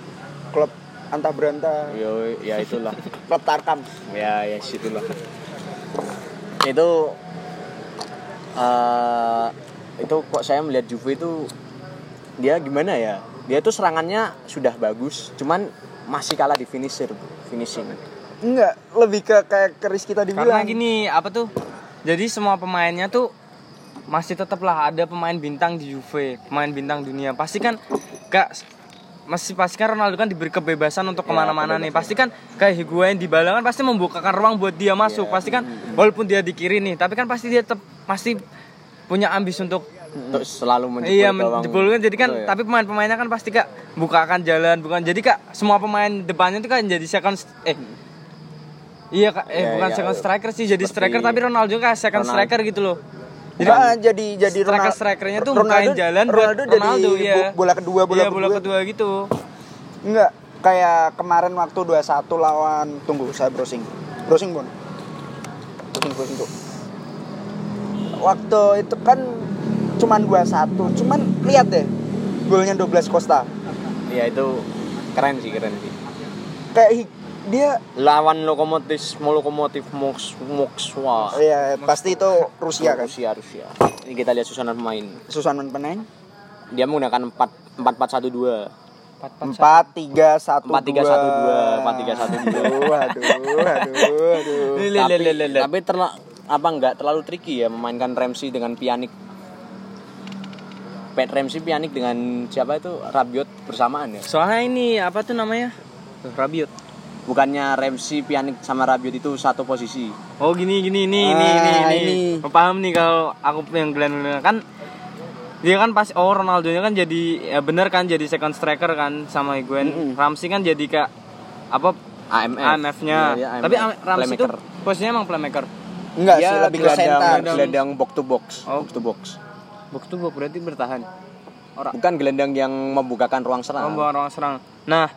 klub antah berantah, yo ya itulah klub Tarkam. ya ya situlah itu eh, itu kok saya melihat Juve itu dia gimana ya dia tuh serangannya sudah bagus cuman masih kalah di finisher bro. finishing Enggak, lebih ke kayak keris kita karena dibilang. gini apa tuh jadi semua pemainnya tuh masih tetaplah ada pemain bintang di Juve pemain bintang dunia pasti kan kak masih pasti kan Ronaldo kan diberi kebebasan untuk kemana-mana nih pasti kan kayak Higuain di kan pasti membukakan ruang buat dia masuk pasti kan walaupun dia di kiri nih tapi kan pasti dia tetap pasti punya ambis untuk untuk selalu menjebol iya gawang. menjebolkan jadi kan Betul ya? tapi pemain-pemainnya kan pasti kak bukakan jalan bukan jadi kak semua pemain depannya itu kan jadi second st- eh Hmm. iya kak eh Iya, bukan iya. second striker sih jadi Seperti striker tapi Ronaldo juga second Ronaldo. striker gitu loh jadi, ah, jadi jadi Ronal- striker-strikernya tuh Ronaldo- bukain jalan buat Ronaldo jadi Ronaldo, bo- iya. bola kedua, bola, iya bola kedua. kedua gitu Enggak, kayak kemarin waktu 21 lawan tunggu saya browsing. Browsing, Bon. Browsing, browsing tuh. Waktu itu kan cuman 21, cuman lihat deh. Golnya 12 Costa. ya itu keren sih keren sih Kayak hi- dia lawan lokomotif mau lokomotif Moks Mokswa ya iya, pasti itu Rusia kan. Rusia Rusia ini kita lihat susunan pemain Susanan Peneng. dia menggunakan 4 4 4 1 2. Empat tiga satu Empat, tiga, satu, dua. Empat, tiga, satu, dua. Aduh, aduh, aduh, aduh. Tapi, tapi terla- apa enggak terlalu tricky ya memainkan Ramsey dengan pianik Pat Ramsey pianik dengan siapa itu Rabiot bersamaan ya. Soalnya ini apa tuh namanya? Tuh, Rabiot. Bukannya Ramsey pianik sama Rabiot itu satu posisi. Oh gini gini ini ini ini Ah, ini. ini. Paham nih kalau aku yang Glenn Miller. kan dia kan pas oh Ronaldo nya kan jadi ya bener kan jadi second striker kan sama Higuain. Ramsey kan jadi kayak apa AMF. AMF-nya. Iya, iya, Tapi AMF. Ramsey itu Playmaker. posisinya emang playmaker. Enggak dia sih, lebih ke gelandang, center. gelandang box to box, Oh. box to box. Box to box berarti bertahan. Ora Bukan gelandang yang membukakan ruang serang. membawa ruang serang. Nah,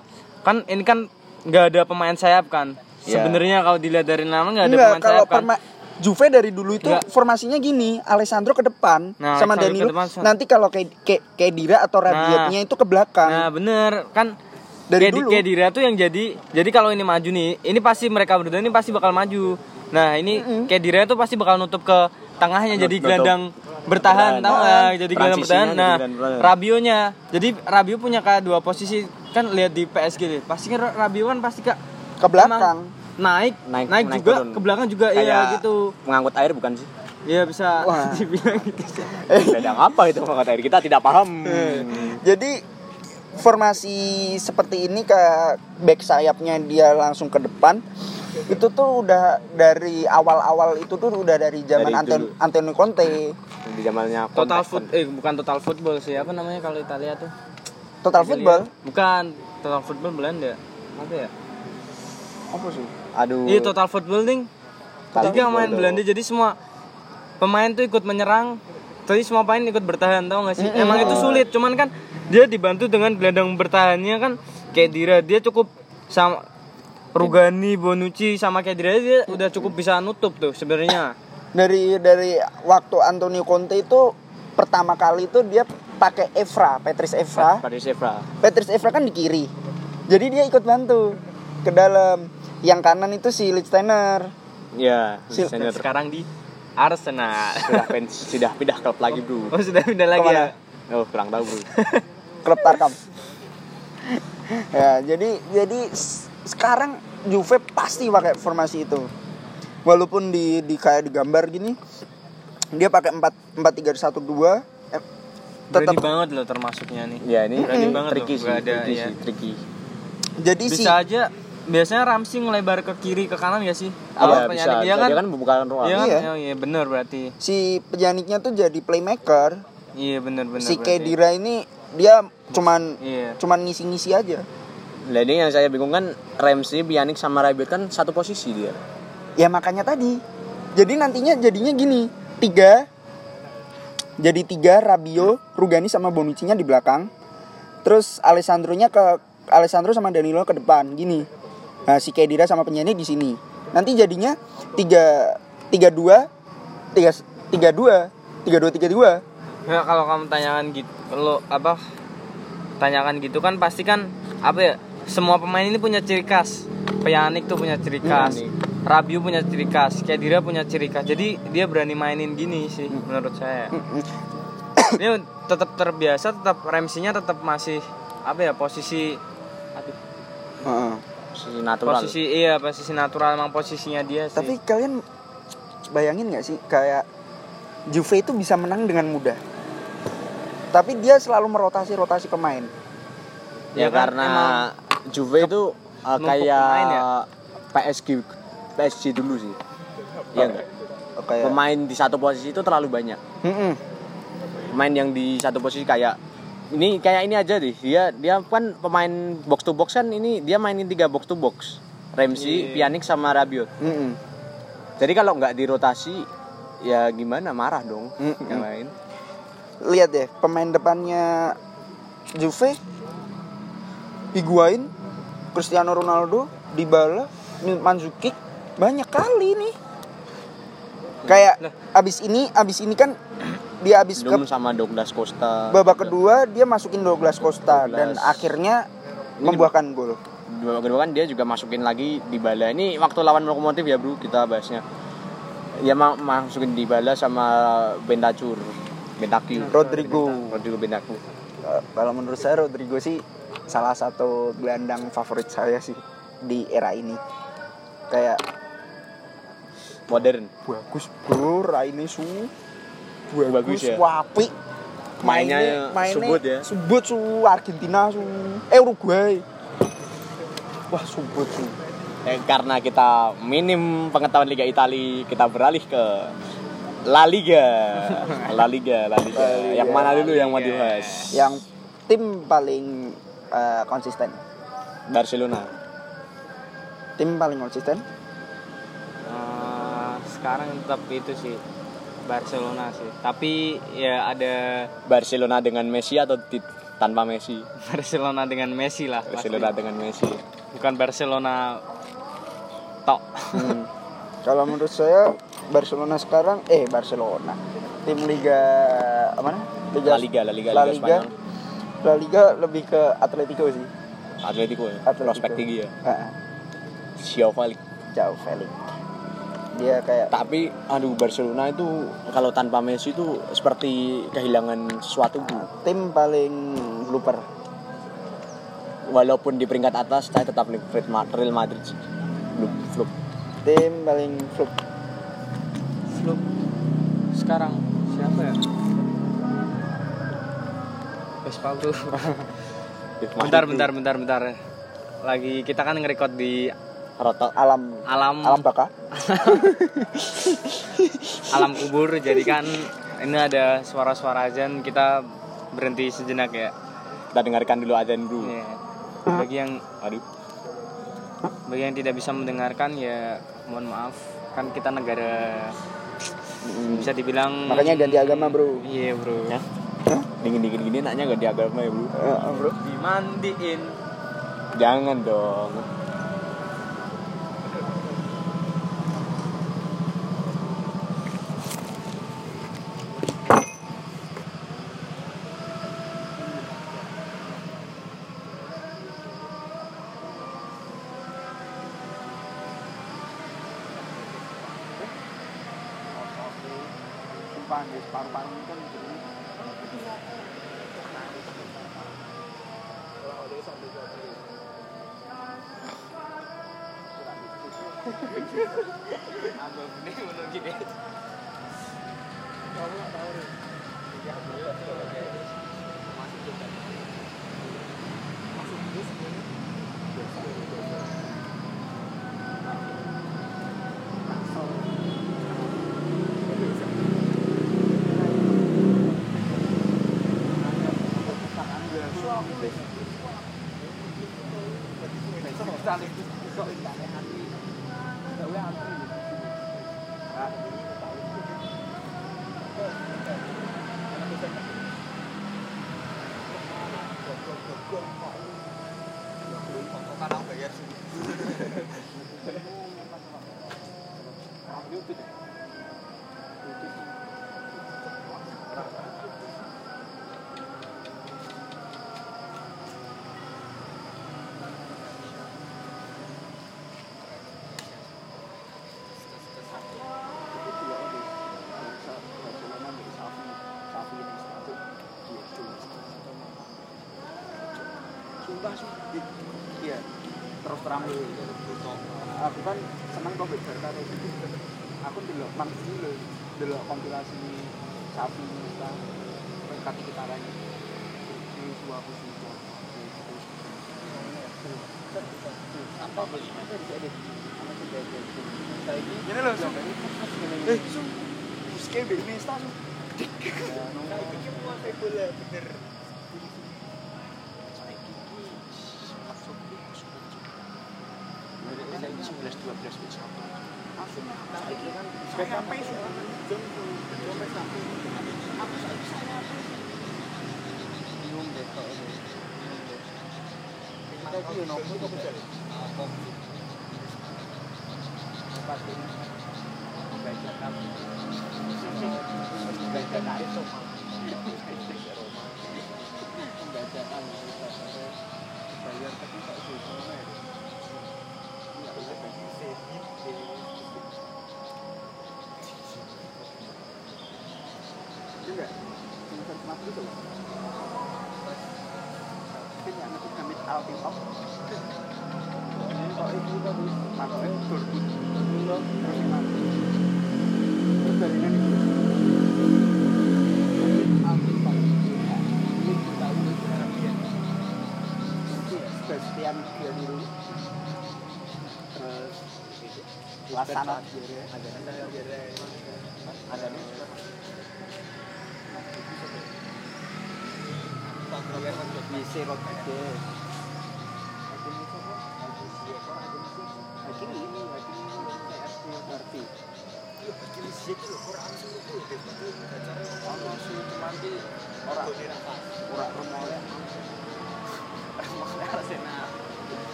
kan ini kan nggak ada pemain sayap kan. Iya. Sebenarnya kalau dilihat dari nama nggak ada Enggak, pemain kalau sayap kan. perma- Juve dari dulu itu Enggak. formasinya gini, Alessandro ke depan Nah, sama Alessandro ke Danilo. depan, sama- Nanti kalau kayak kayak Kedira Nah. atau Rabiotnya itu ke belakang. Nah bener kan Dari Kedi- dulu. Kedira tuh yang jadi jadi kalau ini maju nih ini pasti mereka berdua ini pasti bakal maju. Nah ini Kedira tuh pasti bakal nutup ke tengahnya jadi Nutup. gelandang Bertahan. bertahan tahu nggak? jadi gelandang Transisinya jadi bertahan. Nah gelandang bertahan. Rabionya jadi Rabio punya kayak dua posisi kan lihat di PSG deh pasti kan Rabio kan pasti kak Ke belakang. naik, naik Naik- naik naik juga turun. ke belakang juga Kayak ya gitu Mengangkut air bukan sih? ya bisa Wah. dibilang gitu sih. Gelandang apa itu mengangkut air? Kita tidak paham. Hmm. Jadi formasi seperti ini ke back sayapnya dia langsung ke depan itu tuh udah dari awal-awal itu tuh udah dari zaman Dari Anton- dulu. Antonio Conte Di zamannya kan. total kontes- foot eh bukan total football sih apa namanya kalau Italia tuh Iya, total football Gitu ya. Bukan, total football Belanda. Apa ya? apa sih Aduh. Oh. Iya, total football ding. Total Tiga football main tuh. Belanda jadi semua pemain tuh ikut menyerang, tapi semua pemain ikut bertahan, tau gak sih? Emang itu sulit, cuman kan dia dibantu dengan gelandang bertahannya kan Kedira dia cukup sama Rugani, Bonucci sama Kedira dia udah cukup bisa nutup tuh sebenarnya. dari dari waktu Antonio Conte itu pertama kali itu dia pakai Evra Patrice Evra Patrice Evra. Patrice Evra kan di kiri. Jadi dia ikut bantu ke dalam. Yang kanan itu si Lichtsteiner. Iya, Sil- senior. Sekarang di Arsenal. Sudah pens, sudah pindah klub lagi, Bro. Oh sudah pindah lagi ya? Kemana? Oh, kurang tahu, Bro. Klub Tarkam. ya, jadi jadi s- sekarang Juve pasti pakai formasi itu. Walaupun di di kayak di gambar gini dia pakai 4 4 3 1 2 eh, Berani tetap banget loh termasuknya nih. Ya, ini Berani banget tricky loh, sih, nggak ada, tricky iya. sih, tricky. jadi si bisa aja biasanya Ramsey ngelebar ke kiri ke kanan ya sih Iya, Apa bisa. penyanyi dia bisa. kan Dia kan membuka ruang. dia kan Iya. oh iya bener berarti si penyaniknya tuh jadi playmaker. iya bener bener si berarti. Kedira ini dia cuman iya cuman ngisi-ngisi aja. Jadi yang saya bingung kan Ramsey, Pjanic sama Rabiot kan satu posisi dia. ya makanya tadi jadi nantinya jadinya gini tiga jadi tiga Rabio Rugani sama Bonucci-nya di belakang terus Alessandro-nya ke Alessandro sama Danilo ke depan gini nah, si Kedira sama penyanyi di sini nanti jadinya tiga tiga dua tiga tiga dua tiga dua tiga dua Nah, kalau kamu tanyakan gitu lo apa tanyakan gitu kan pasti kan apa ya semua pemain ini punya ciri khas Pjanic tuh punya ciri khas Rabiu punya ciri khas Kedira punya ciri khas jadi dia berani mainin gini sih menurut saya dia tetap terbiasa tetap remsinya tetap masih apa ya posisi aduh Heeh. Posisi natural. posisi iya posisi natural emang posisinya dia sih tapi kalian bayangin nggak sih kayak Juve itu bisa menang dengan mudah tapi dia selalu merotasi rotasi pemain ya, Ya kan, karena emang Juve itu uh, numpuk kayak pemain ya. PSG PSG dulu sih. Iya enggak? Oke. Pemain di satu posisi itu terlalu banyak. Mm-mm. Pemain yang di satu posisi kayak ini kayak ini aja deh. Dia dia kan pemain box to box kan ini dia mainin tiga box to box. Ramsey, Iya. Pjanic sama Rabiot. Mm-mm. Jadi kalau nggak dirotasi ya gimana marah dong Mm-mm. yang lain. Lihat deh pemain depannya Juve, Higuain, Cristiano Ronaldo, Dybala, Mandzukic banyak kali nih. Kayak abis ini abis ini kan dia abis Dum ke sama Douglas Costa. babak kedua dia masukin Douglas Costa dan Douglas. akhirnya membuahkan gol. di babak kedua kan dia juga masukin lagi di bala ini waktu lawan lokomotif ya bro kita bahasnya ya ma masukin di bala sama Bentacur Bentacu Rodrigo. Rodrigo Bentacu Eh, kalau menurut saya Rodrigo sih salah satu gelandang favorit saya sih di era ini. Kayak modern bagus bro, Raine su bagus, Bagus ya? wapi. Mainnya, Mainnya mainnya subut ya? Subut su Argentina su eh Uruguay. Wah, subut su. Eh, karena kita minim pengetahuan Liga Italia kita beralih ke La Liga La Liga La Liga yang mana dulu yang mau dibahas Yang tim paling eh, konsisten. Barcelona Tim paling konsisten Eh, sekarang tetap itu sih Barcelona sih tapi ya ada Barcelona dengan Messi atau ti- tanpa Messi Barcelona dengan Messi lah pasti. Barcelona dengan Messi bukan Barcelona tok Hmm. Kalau menurut saya Barcelona sekarang eh Barcelona tim Liga apa nih? La Liga, La Liga, La Liga, Liga Spanyol. La Liga lebih ke Atletico sih. Atletico ya Atletico. prospek tinggi ya Ah, Xiao Felix jauh Felix. Dia kayak tapi aduh Barcelona itu kalau tanpa Messi itu seperti kehilangan sesuatu Bu. tim paling blooper. walaupun di peringkat atas saya tetap nih, Real Ma- Real Madrid sih. Flup, flup. Tim paling flop. Flup. sekarang siapa ya Vespaldo Real Madrid bentar tuh bentar bentar bentar lagi kita kan ngerekod di rotok Alam alam Alam Baka. alam kubur jadi kan ini ada suara-suara azan kita berhenti sejenak ya kita dengarkan dulu azan dulu Iya. Ah. bagi yang aduh bagi yang tidak bisa mendengarkan ya mohon maaf kan kita negara bisa dibilang Makanya ganti agama, Bro. iya bro Ya. dingin dingin gini nanya gak di agama ya bro Eh, bro. dimandiin jangan dong kan, Sumpah sih. Iya. Terus terang dulu. Aku kan seneng kok belajar karo gitu. Aku delok mang dulu, delok kompilasi sapi kita peringkat sekitaran ini. Ini dua aku sumpah. Apa beli? Ini loh, Sum. Eh, Sum. Buskei be ini Sum. suasana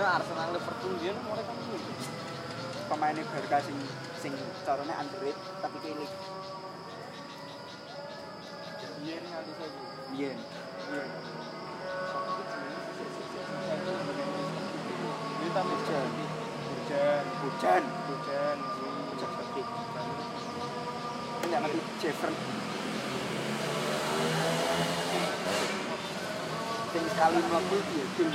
Arsenal Liverpool dia mulai kan pemainnya Barca sing sing caranya underrated tapi kini biyen nganti saiki. biyen Dia tambah hujan. Hujan, hujan hujan. hujan seperti ini nanti Jeffern sing sekali iya, mlebu dia dul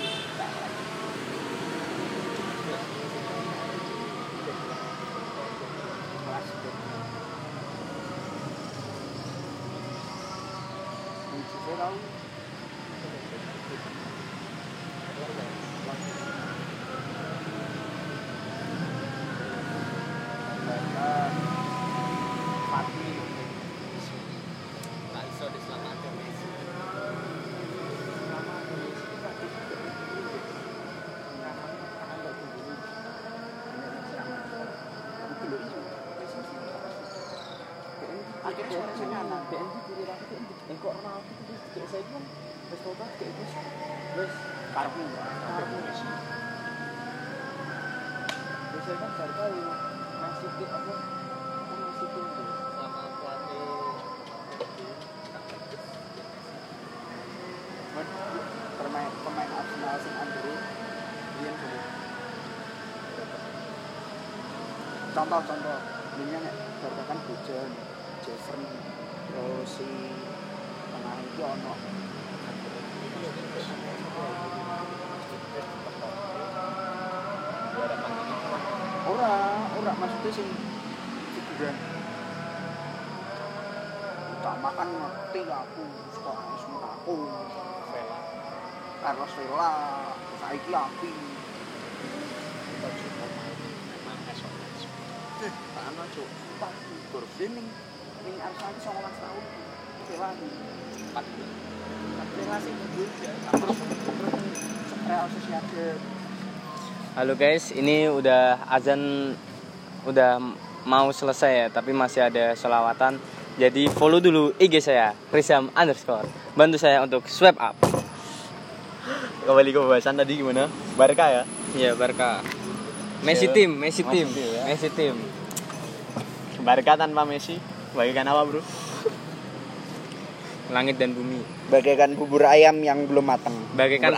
Kelas, Dul. Ini juga tau. pemain pemain Arsenal sing underrated biyen kuwi. contoh contoh biyen nek Barca kan Bujan Jefferson terus si pemain iki ono ora ora maksudnya sing figuran utama kan ngerti lah aku suka semua aku Carlos Vela, saiki api. Ana cuk, pas Gorbin ning ning Arsani 19 tahun. Vela ning 4. Vela sing mundur ya. Terus terus Real Sociedad Halo guys, ini udah azan udah mau selesai ya, tapi masih ada solawatan. Jadi follow dulu IG saya, Rizam underscore. Bantu saya untuk swipe up. Kembali ke pembahasan tadi gimana? Barca ya? Ya Barca. Messi tim, Messi Masih tim, tim Iya. ya. Messi tim. Barca tanpa Messi bagikan apa bro? Langit dan bumi. bagaikan bubur ayam yang belum matang. Bagaikan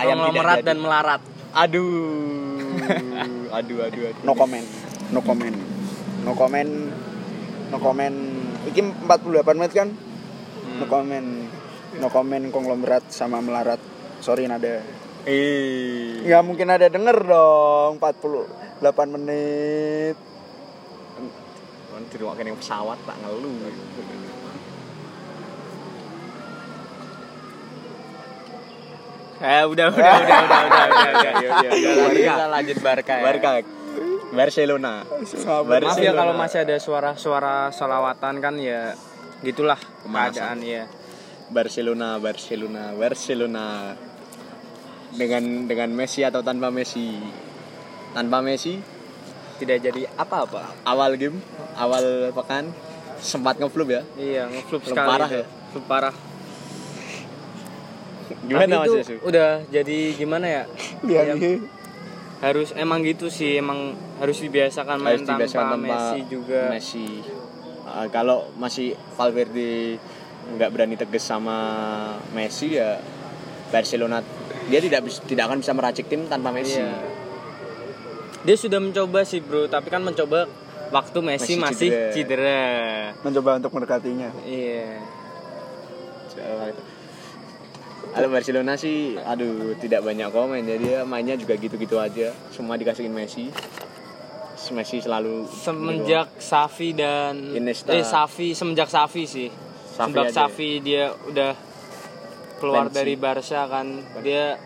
Bubur ayam tidak konglomerat jadi. dan melarat. Aduh, aduh, aduh, aduh. No comment. No comment. No comment. No comment. Iki 48 menit kan? No comment. No comment konglomerat sama melarat. Sorry nada. Eh, Nggak mungkin ada denger dong 48 menit kan di rumah kene pesawat tak ngeluh. Eh udah udah udah udah udah udah. udah. Jadi Barca, kita Iya, lanjut Barca ya. Barca, Barcelona. Maaf Barcelona. ya kalau masih ada suara-suara solawatan kan ya gitulah keadaan ya. Barcelona, Barcelona, Barcelona. Dengan dengan Messi atau tanpa Messi? Tanpa Messi, Tidak jadi apa-apa. awal game, awal pekan sempat ngeflop ya. Iya, ngeflop Klub sekali. parah ya? Klub parah. Gimana Tapi Mas itu Yesu? gitu. udah jadi gimana ya? Lihat Ya, harus emang gitu sih, emang harus dibiasakan main Harus tanpa, dibiasakan tanpa Messi juga. Messi. Uh, kalau masih Valverde nggak berani tegas sama Messi ya Barcelona dia tidak bis- tidak akan bisa meracik tim tanpa Messi. Iya. Dia sudah mencoba sih, Bro, tapi kan mencoba waktu Messi, Messi masih cedera. cedera. Mencoba untuk mendekatinya Iya. So, Kalau Barcelona sih, aduh tidak banyak komen ya dia mainnya juga gitu-gitu aja. Semua dikasihin Messi. Messi selalu semenjak Safi dan Iya. Iniesta. eh Safi semenjak Safi sih Xavi semenjak aja Safi dia udah keluar Pensi. dari Barca kan dia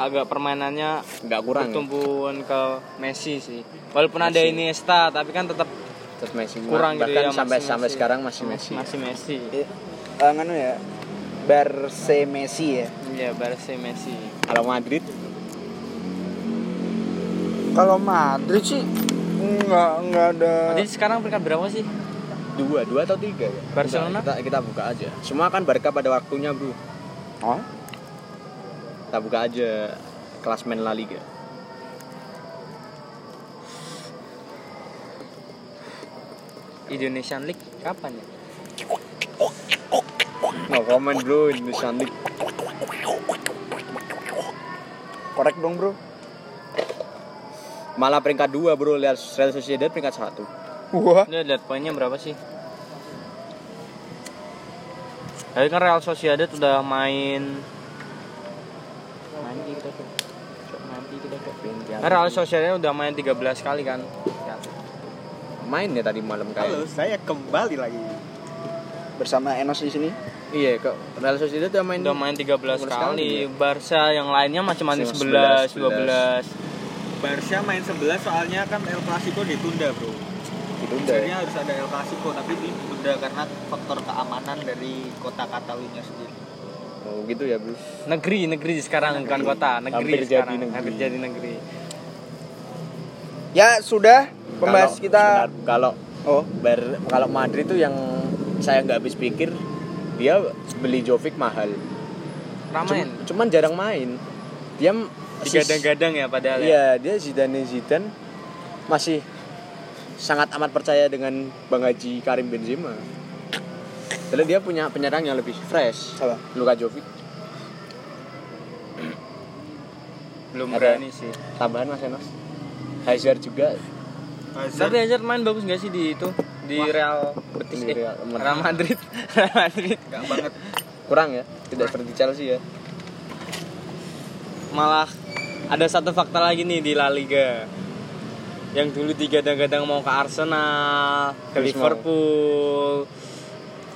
agak permainannya nggak kurang. ya. bertumpuan ke Messi sih walaupun ada Iniesta tapi kan tetap Terus Messi kurang bahkan gitu ya sampai masih sampai Messi. sekarang masih Messi. masih Messi Eh, eh, nganu ya Barse Messi ya iya Barca Messi Kalau Madrid kalau Madrid sih nggak nggak ada jadi sekarang peringkat berapa sih dua, dua atau tiga ya? Barcelona? Kita, kita buka aja. Semua kan Barca pada waktunya bro. oh Kita buka aja klasmen La Liga. Indonesian League kapan ya No comment bro, Indonesian League. korek dong bro Malah peringkat dua bro, lihat Real Sociedad peringkat satu. wah Udah lihat poinnya berapa sih? Tadi kan Real Sociedad udah main Mandi kita tuh. Cok, mandi kita tuh. Nah, Real Sociedad udah main 13 kali kan. Main ya tadi malam kayak. Halo, saya kembali lagi. bersama Enos di sini Iya, kok Real Sociedad udah main. Udah main 13 13 kali. kali, iya. Barca yang lainnya masih main 11, 11, 12. Barca main 11 soalnya kan El Clasico ditunda, Bro. Gitu udah. Sebenarnya harus ada El Clasico tapi ditunda karena faktor keamanan dari kota Katalunya sendiri. Oh gitu ya bro. Negeri, negeri sekarang bukan kota, negeri Hampir jadi sekarang. negeri. Hampir jadi negeri. ya sudah pembahas Kalau- kita sebentar, kalau oh Bar- kalau Madrid tuh yang saya nggak habis pikir dia beli Jovic mahal. Ramen. Cuma- cuman jarang main. Dia m- Digadang-gadang ya padahal ya. Iya, dia Zidane Zidane masih sangat amat percaya dengan Bang Haji Karim Benzema. Padahal dia punya penyerang yang lebih fresh. Apa? Luka Jovic. Belum Ada- berani sih. Tambahan Mas Enos. Hazard juga Tapi Hazard main bagus gak sih di itu? Di Real Betis Di eh, Real Madrid. Real Madrid. Real Madrid. Enggak banget kurang ya, tidak seperti Chelsea ya. Malah ada satu fakta lagi nih di La Liga. Yang dulu digadang-gadang mau ke Arsenal, ke Terus mau. Liverpool,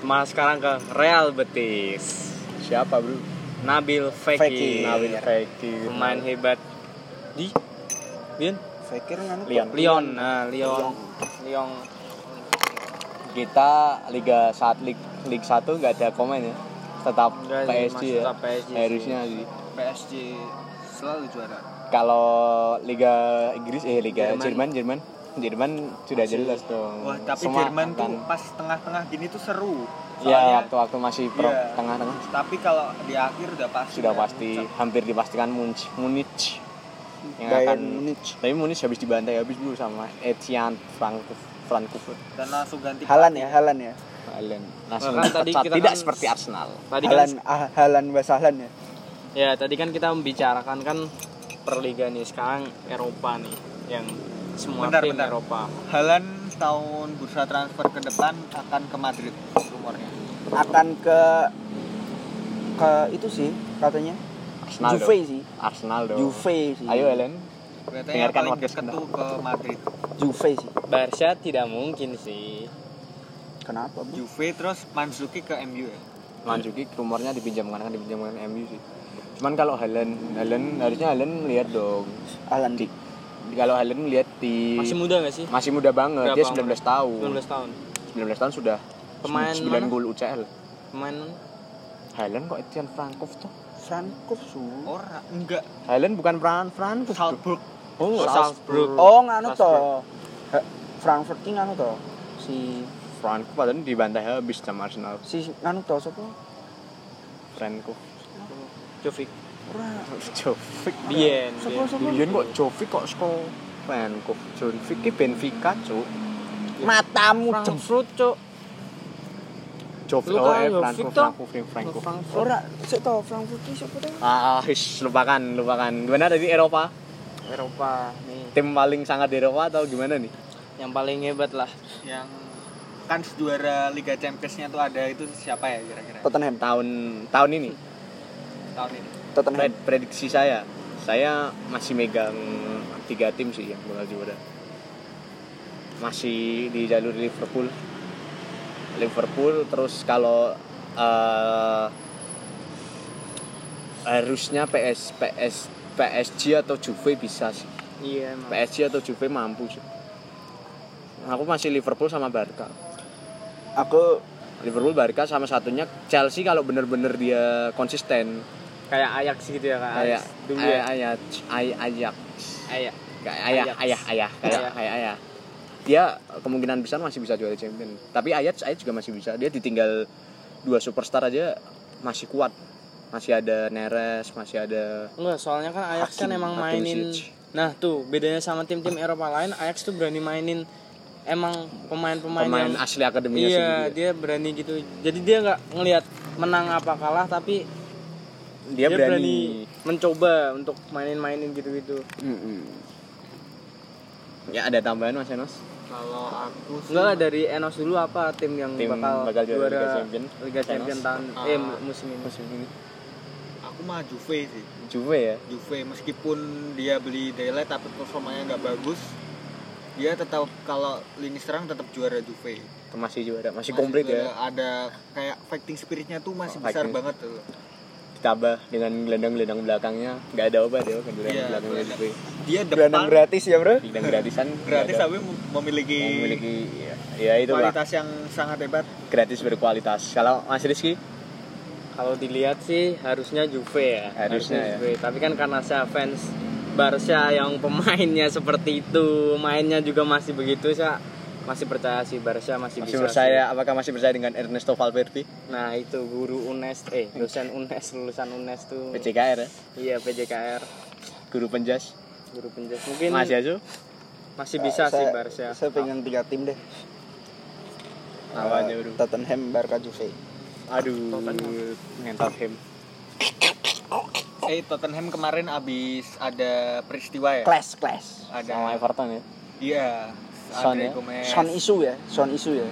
malah sekarang ke Real Betis. Siapa, Bro? Nabil Fekir, Fekir. Nabil Fekir. pemain hebat di Lyon. Fekir kan nganu Lyon. Lyon, nah Lyon, Lyon. kita Liga saat Lig Lig 1 nggak ada komen ya. Tetap Nggak sih, PSG masih ya. tetap PSG sih. Harusnya sih. PSG selalu juara. Kalau Liga Inggris eh Liga Jerman. Jerman Jerman Jerman sudah jelas dong. Wah, tapi Semua Jerman tuh akan- pas tengah-tengah gini tuh seru. ya Soalnya waktu-waktu masih pro Iya. tengah-tengah tapi kalau di akhir udah pasti sudah kan. pasti hampir dipastikan Munch Munich yang akan Bayern Munich tapi Munich habis dibantai habis dulu sama Etienne Frankfurt Frankfurt dan langsung ganti Halan ya Halan ya Haaland langsung Bahkan Nah, tadi dipecat. kita tidak kan- seperti Arsenal Tadi kan Halan ah, Halan Halan ya Ya, tadi kan kita membicarakan kan perliga nih sekarang Eropa nih yang semua Bentar, tim bentar. Eropa. Halan tahun bursa transfer ke depan akan ke Madrid umurnya. akan ke ke itu sih katanya Arsenal dong. Juve sih Arsenal dong Juve sih ayo ya. Helen Kelihatannya Dengarkan kan. paling podcast deket tuh ke Madrid. Juve sih Barca tidak mungkin sih. kenapa Bu? Juve terus Manzuki ke MU ya. Manzuki rumornya dipinjamkan kan dipinjamkan MU sih. Cuman kalau Helen Helen harusnya Helen melihat dong. Halan di Kalau Helen melihat di Masih muda gak sih? masih muda banget, Berapa dia umurnya? 19 tahun. 19 tahun. 19 tahun sudah Pemain 9 mana? gol UCL. Pemain Helen kok Etienne Frankov tuh? Sankov su Ora, enggak. Helen bukan Fran Frankov. tuh. Salzburg. Oh, Salzburg. oh nganu Salzburg. toh Ha- Frankfurt ki nganu toh si Frankov padahal dibantai habis sama Arsenal. si nganu toh siapa Frankov. Jovic. ora Jovic. Bien. siapa siapa Lyon kok Jovic kok skor Frankov. Jovic ki Benfica, Cuk. matamu jeng Frankfurt, Cok. Jovic Lu oh, kan eh, Jovic Frankov, toh. Frankov, Frankov. Frankfurt. ora sik toh Frankfurt ki siapa toh Ah, hish, lupakan, lupakan. Gimana tadi Eropa? Eropa nih. Tim paling sangat di Eropa atau gimana nih? Yang paling hebat lah. yang kan juara Liga Champions-nya tuh ada itu siapa ya kira-kira? Tottenham Tahun tahun ini. tahun ini? Tottenham. Pred- prediksi saya, saya masih megang tiga tim sih yang bakal juara. Masih di jalur Liverpool. Liverpool terus kalau eh, harusnya PS PS PSG atau Juve bisa sih. Iya, emang. PSG atau Juve mampu sih. Aku masih Liverpool sama Barca. Aku Liverpool Barca sama satunya Chelsea kalau bener-bener dia konsisten kayak ayak sih gitu ya kak kayak Ajax dulu ya kayak ayah ay- ayak ayak kayak ayah Ajax. ayah ayah kayak Ajax. kayak ayah dia kemungkinan besar masih bisa juara champion tapi ayat ayat juga masih bisa dia ditinggal dua superstar aja masih kuat masih ada Neres masih ada enggak soalnya kan ayak kan Hakim, emang Hakim mainin Ziyech. nah tuh bedanya sama tim-tim Eropa lain ayak tuh berani mainin emang pemain-pemain pemain ya. yang asli akademinya iya sendiri dia berani gitu jadi dia nggak ngelihat menang apa kalah tapi dia, berani, mencoba untuk mainin-mainin gitu-gitu Mm-mm. ya ada tambahan mas Enos Kalau aku sih enggak lah, dari Enos dulu apa tim yang Tim bakal, bakal juara juara Liga Champion? Liga Enos? Champion tahun Ah. eh musim ini musim ini aku mah Juve sih. Juve ya Juve meskipun dia beli Dele tapi performanya nggak bagus, dia tetap kalau lini serang tetap juara Juve. masih juara masih Masih komplit juara, ya Ada kayak fighting spiritnya tuh Oh, masih besar fighting. banget tuh. ditambah dengan gelandang-gelandang belakangnya nggak ada obat ya gelandang Iya, belakangnya gelandang. Juve Dia gelandang depan gratis ya, Bro. gelandang gratisan nggak gratis ada. tapi mem- memiliki, memiliki ya, ya itulah kualitas yang sangat hebat. gratis berkualitas kalau Mas Iya, Rizky Kalau dilihat sih harusnya Juve ya. Harusnya ya. Juve. Tapi kan karena saya fans Barca yang pemainnya seperti itu, mainnya juga masih begitu, saya masih percaya sih Barca masih masih, bisa. percaya apakah masih percaya dengan Ernesto Valverde sih. Nah, itu guru UNES eh dosen UNES lulusan UNES tuh. PCKR ya Iya, PJKR, guru penjas guru penjas. Mungkin Mas masih, Yasu bisa sih saya, Barca. Saya pegang tiga tim deh. apa aja Eh, bro Tottenham, Barca, Juve. aduh ngentot him Eh Tottenham kemarin abis ada peristiwa ya. Clash, clash. sama Ada Everton ya iya. Son ya? Andre Gomez. Son isu ya, Son isu ya.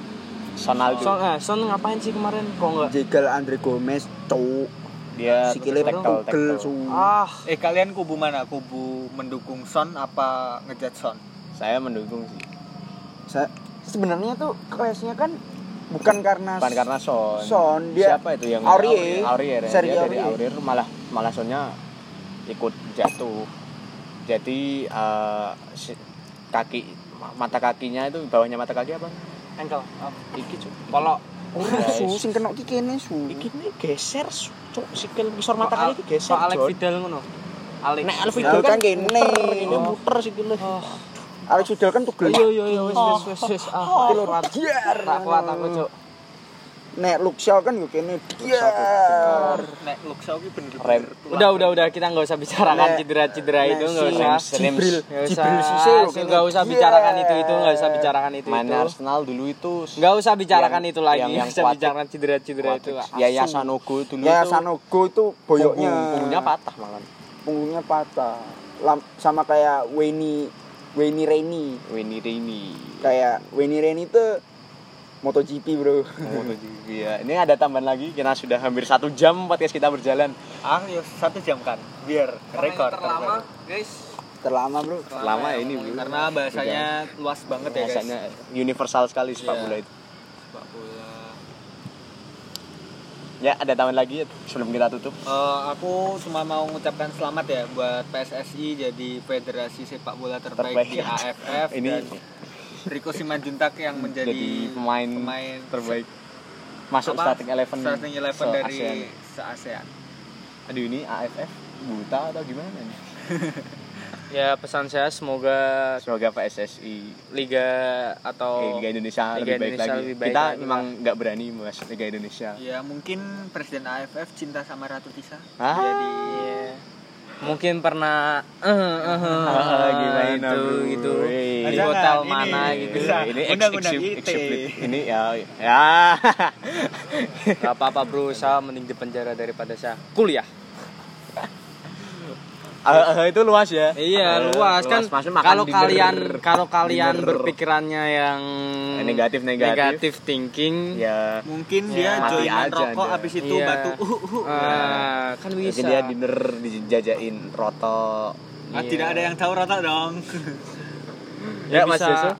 Sonaldo Son, eh, Son ngapain sih kemarin? Kok enggak? Jegal Andre Gomez, cowok. dia Sikile tackle pegel, tackle su. Ah, Eh kalian kubu mana? Kubu mendukung Son apa ngejat Son? saya mendukung sih Saya sebenarnya tuh clashnya kan bukan karena bukan karena Son Son dia siapa itu yang Aurier. Aurier ya. Sergio dia dari Aurier. Aurier malah malah Sonnya ikut jatuh jadi eh, si- kaki ma- mata kakinya itu bawahnya mata kaki apa ankle. Oh, iki cuk Kalau Ora Guys. su sing kena ki kene su. iki ini geser su- cuk sikil ngisor mata Oh, Soal- kaki iki geser Alex Jon. Vidal ngono. Alex. nek Alfie Nah, kan kan gini. muter ini Iya. Oh. muter sikile Oh. Alex Udel kan tugel. Yo yo yo Iya, wis wis wis wis. Ah, Kuwi lho, diar. tak kuat aku, Cuk. Nek Luxio kan yo kene Luxio diar. Nek Luxau ki Rem. bener-bener tulang. Udah udah udah kita nggak usah bicarakan Nek- cedera-cedera nek itu nggak si usah. James- Jibril, James- nggak usah. Jibril Cisse loh, kayaknya. Nggak usah Iya. bicarakan itu itu nggak usah bicarakan itu mana itu. Arsenal dulu itu s- Nggak usah bicarakan Yang- itu lagi. yang- yang Nggak usah kuatik- bicarakan cedera-cedera itu. Watik. Asu. Yaya Sanogo dulu Ya itu Sanogo itu boyoknya. punggung- punggungnya patah malah Punggungnya patah. Lam- sama kayak Weni Weni Reni. Winnie Rini Kayak Weni Reni tuh MotoGP, Bro. MotoGP ya. Ini ada tambahan lagi, kita sudah hampir satu jam podcast kita berjalan. Ah, ya satu jam kan. Biar rekor. terbaru. Terlama, Bro. Lama ya ini, Bro. Karena bahasanya luas banget ya, guys. Rasanya universal sekali sepak Iya. bola itu. Sepak bola. Ya, ada tambahan lagi sebelum kita tutup. Eh, aku cuma mau mengucapkan selamat ya buat PSSI jadi federasi sepak bola terbaik, Terbaik. di AFF Ini dan Rico Simanjuntak yang menjadi jadi pemain, terbaik masuk apa? starting eleven starting eleven se- E dari ASEAN. se-ASEAN. Aduh ini AFF buta atau gimana nih? Ya pesan saya semoga Semoga PSSI liga atau eh, Liga Indonesia Oh, Liga lebih baik Indonesia lagi. lebih baik kita lagi lah. memang nggak berani bahas Liga Indonesia. Ya mungkin Presiden AFF cinta sama Ratu Tisa. Hah? Jadi Iya. mungkin pernah eh eh, eh, Ah, gimana, itu Bro? gitu Wih. di Jangan, hotel ini mana gitu bisa. Eh, ini Undang-undang eksib- ITE. eksibit. ini ya ya Gak apa-apa bro, saya mending di penjara daripada saya kuliah AHA itu luas ya. Iya, luas kan. maksudnya makan Kalau dinner. kalian kalau kalian Dinner. berpikirannya yang Eh, negatif, negatif. negatif Iya. thinking, ya Mungkin dia mati joinan aja rokok dia. abis itu Iya. batu uh, uh, uh. eh, kan bisa. jadi dia dinner dijajain roto. Ah, Tidak ada yang tahu rata dong. Ya, ya, Mas bisa Yesus.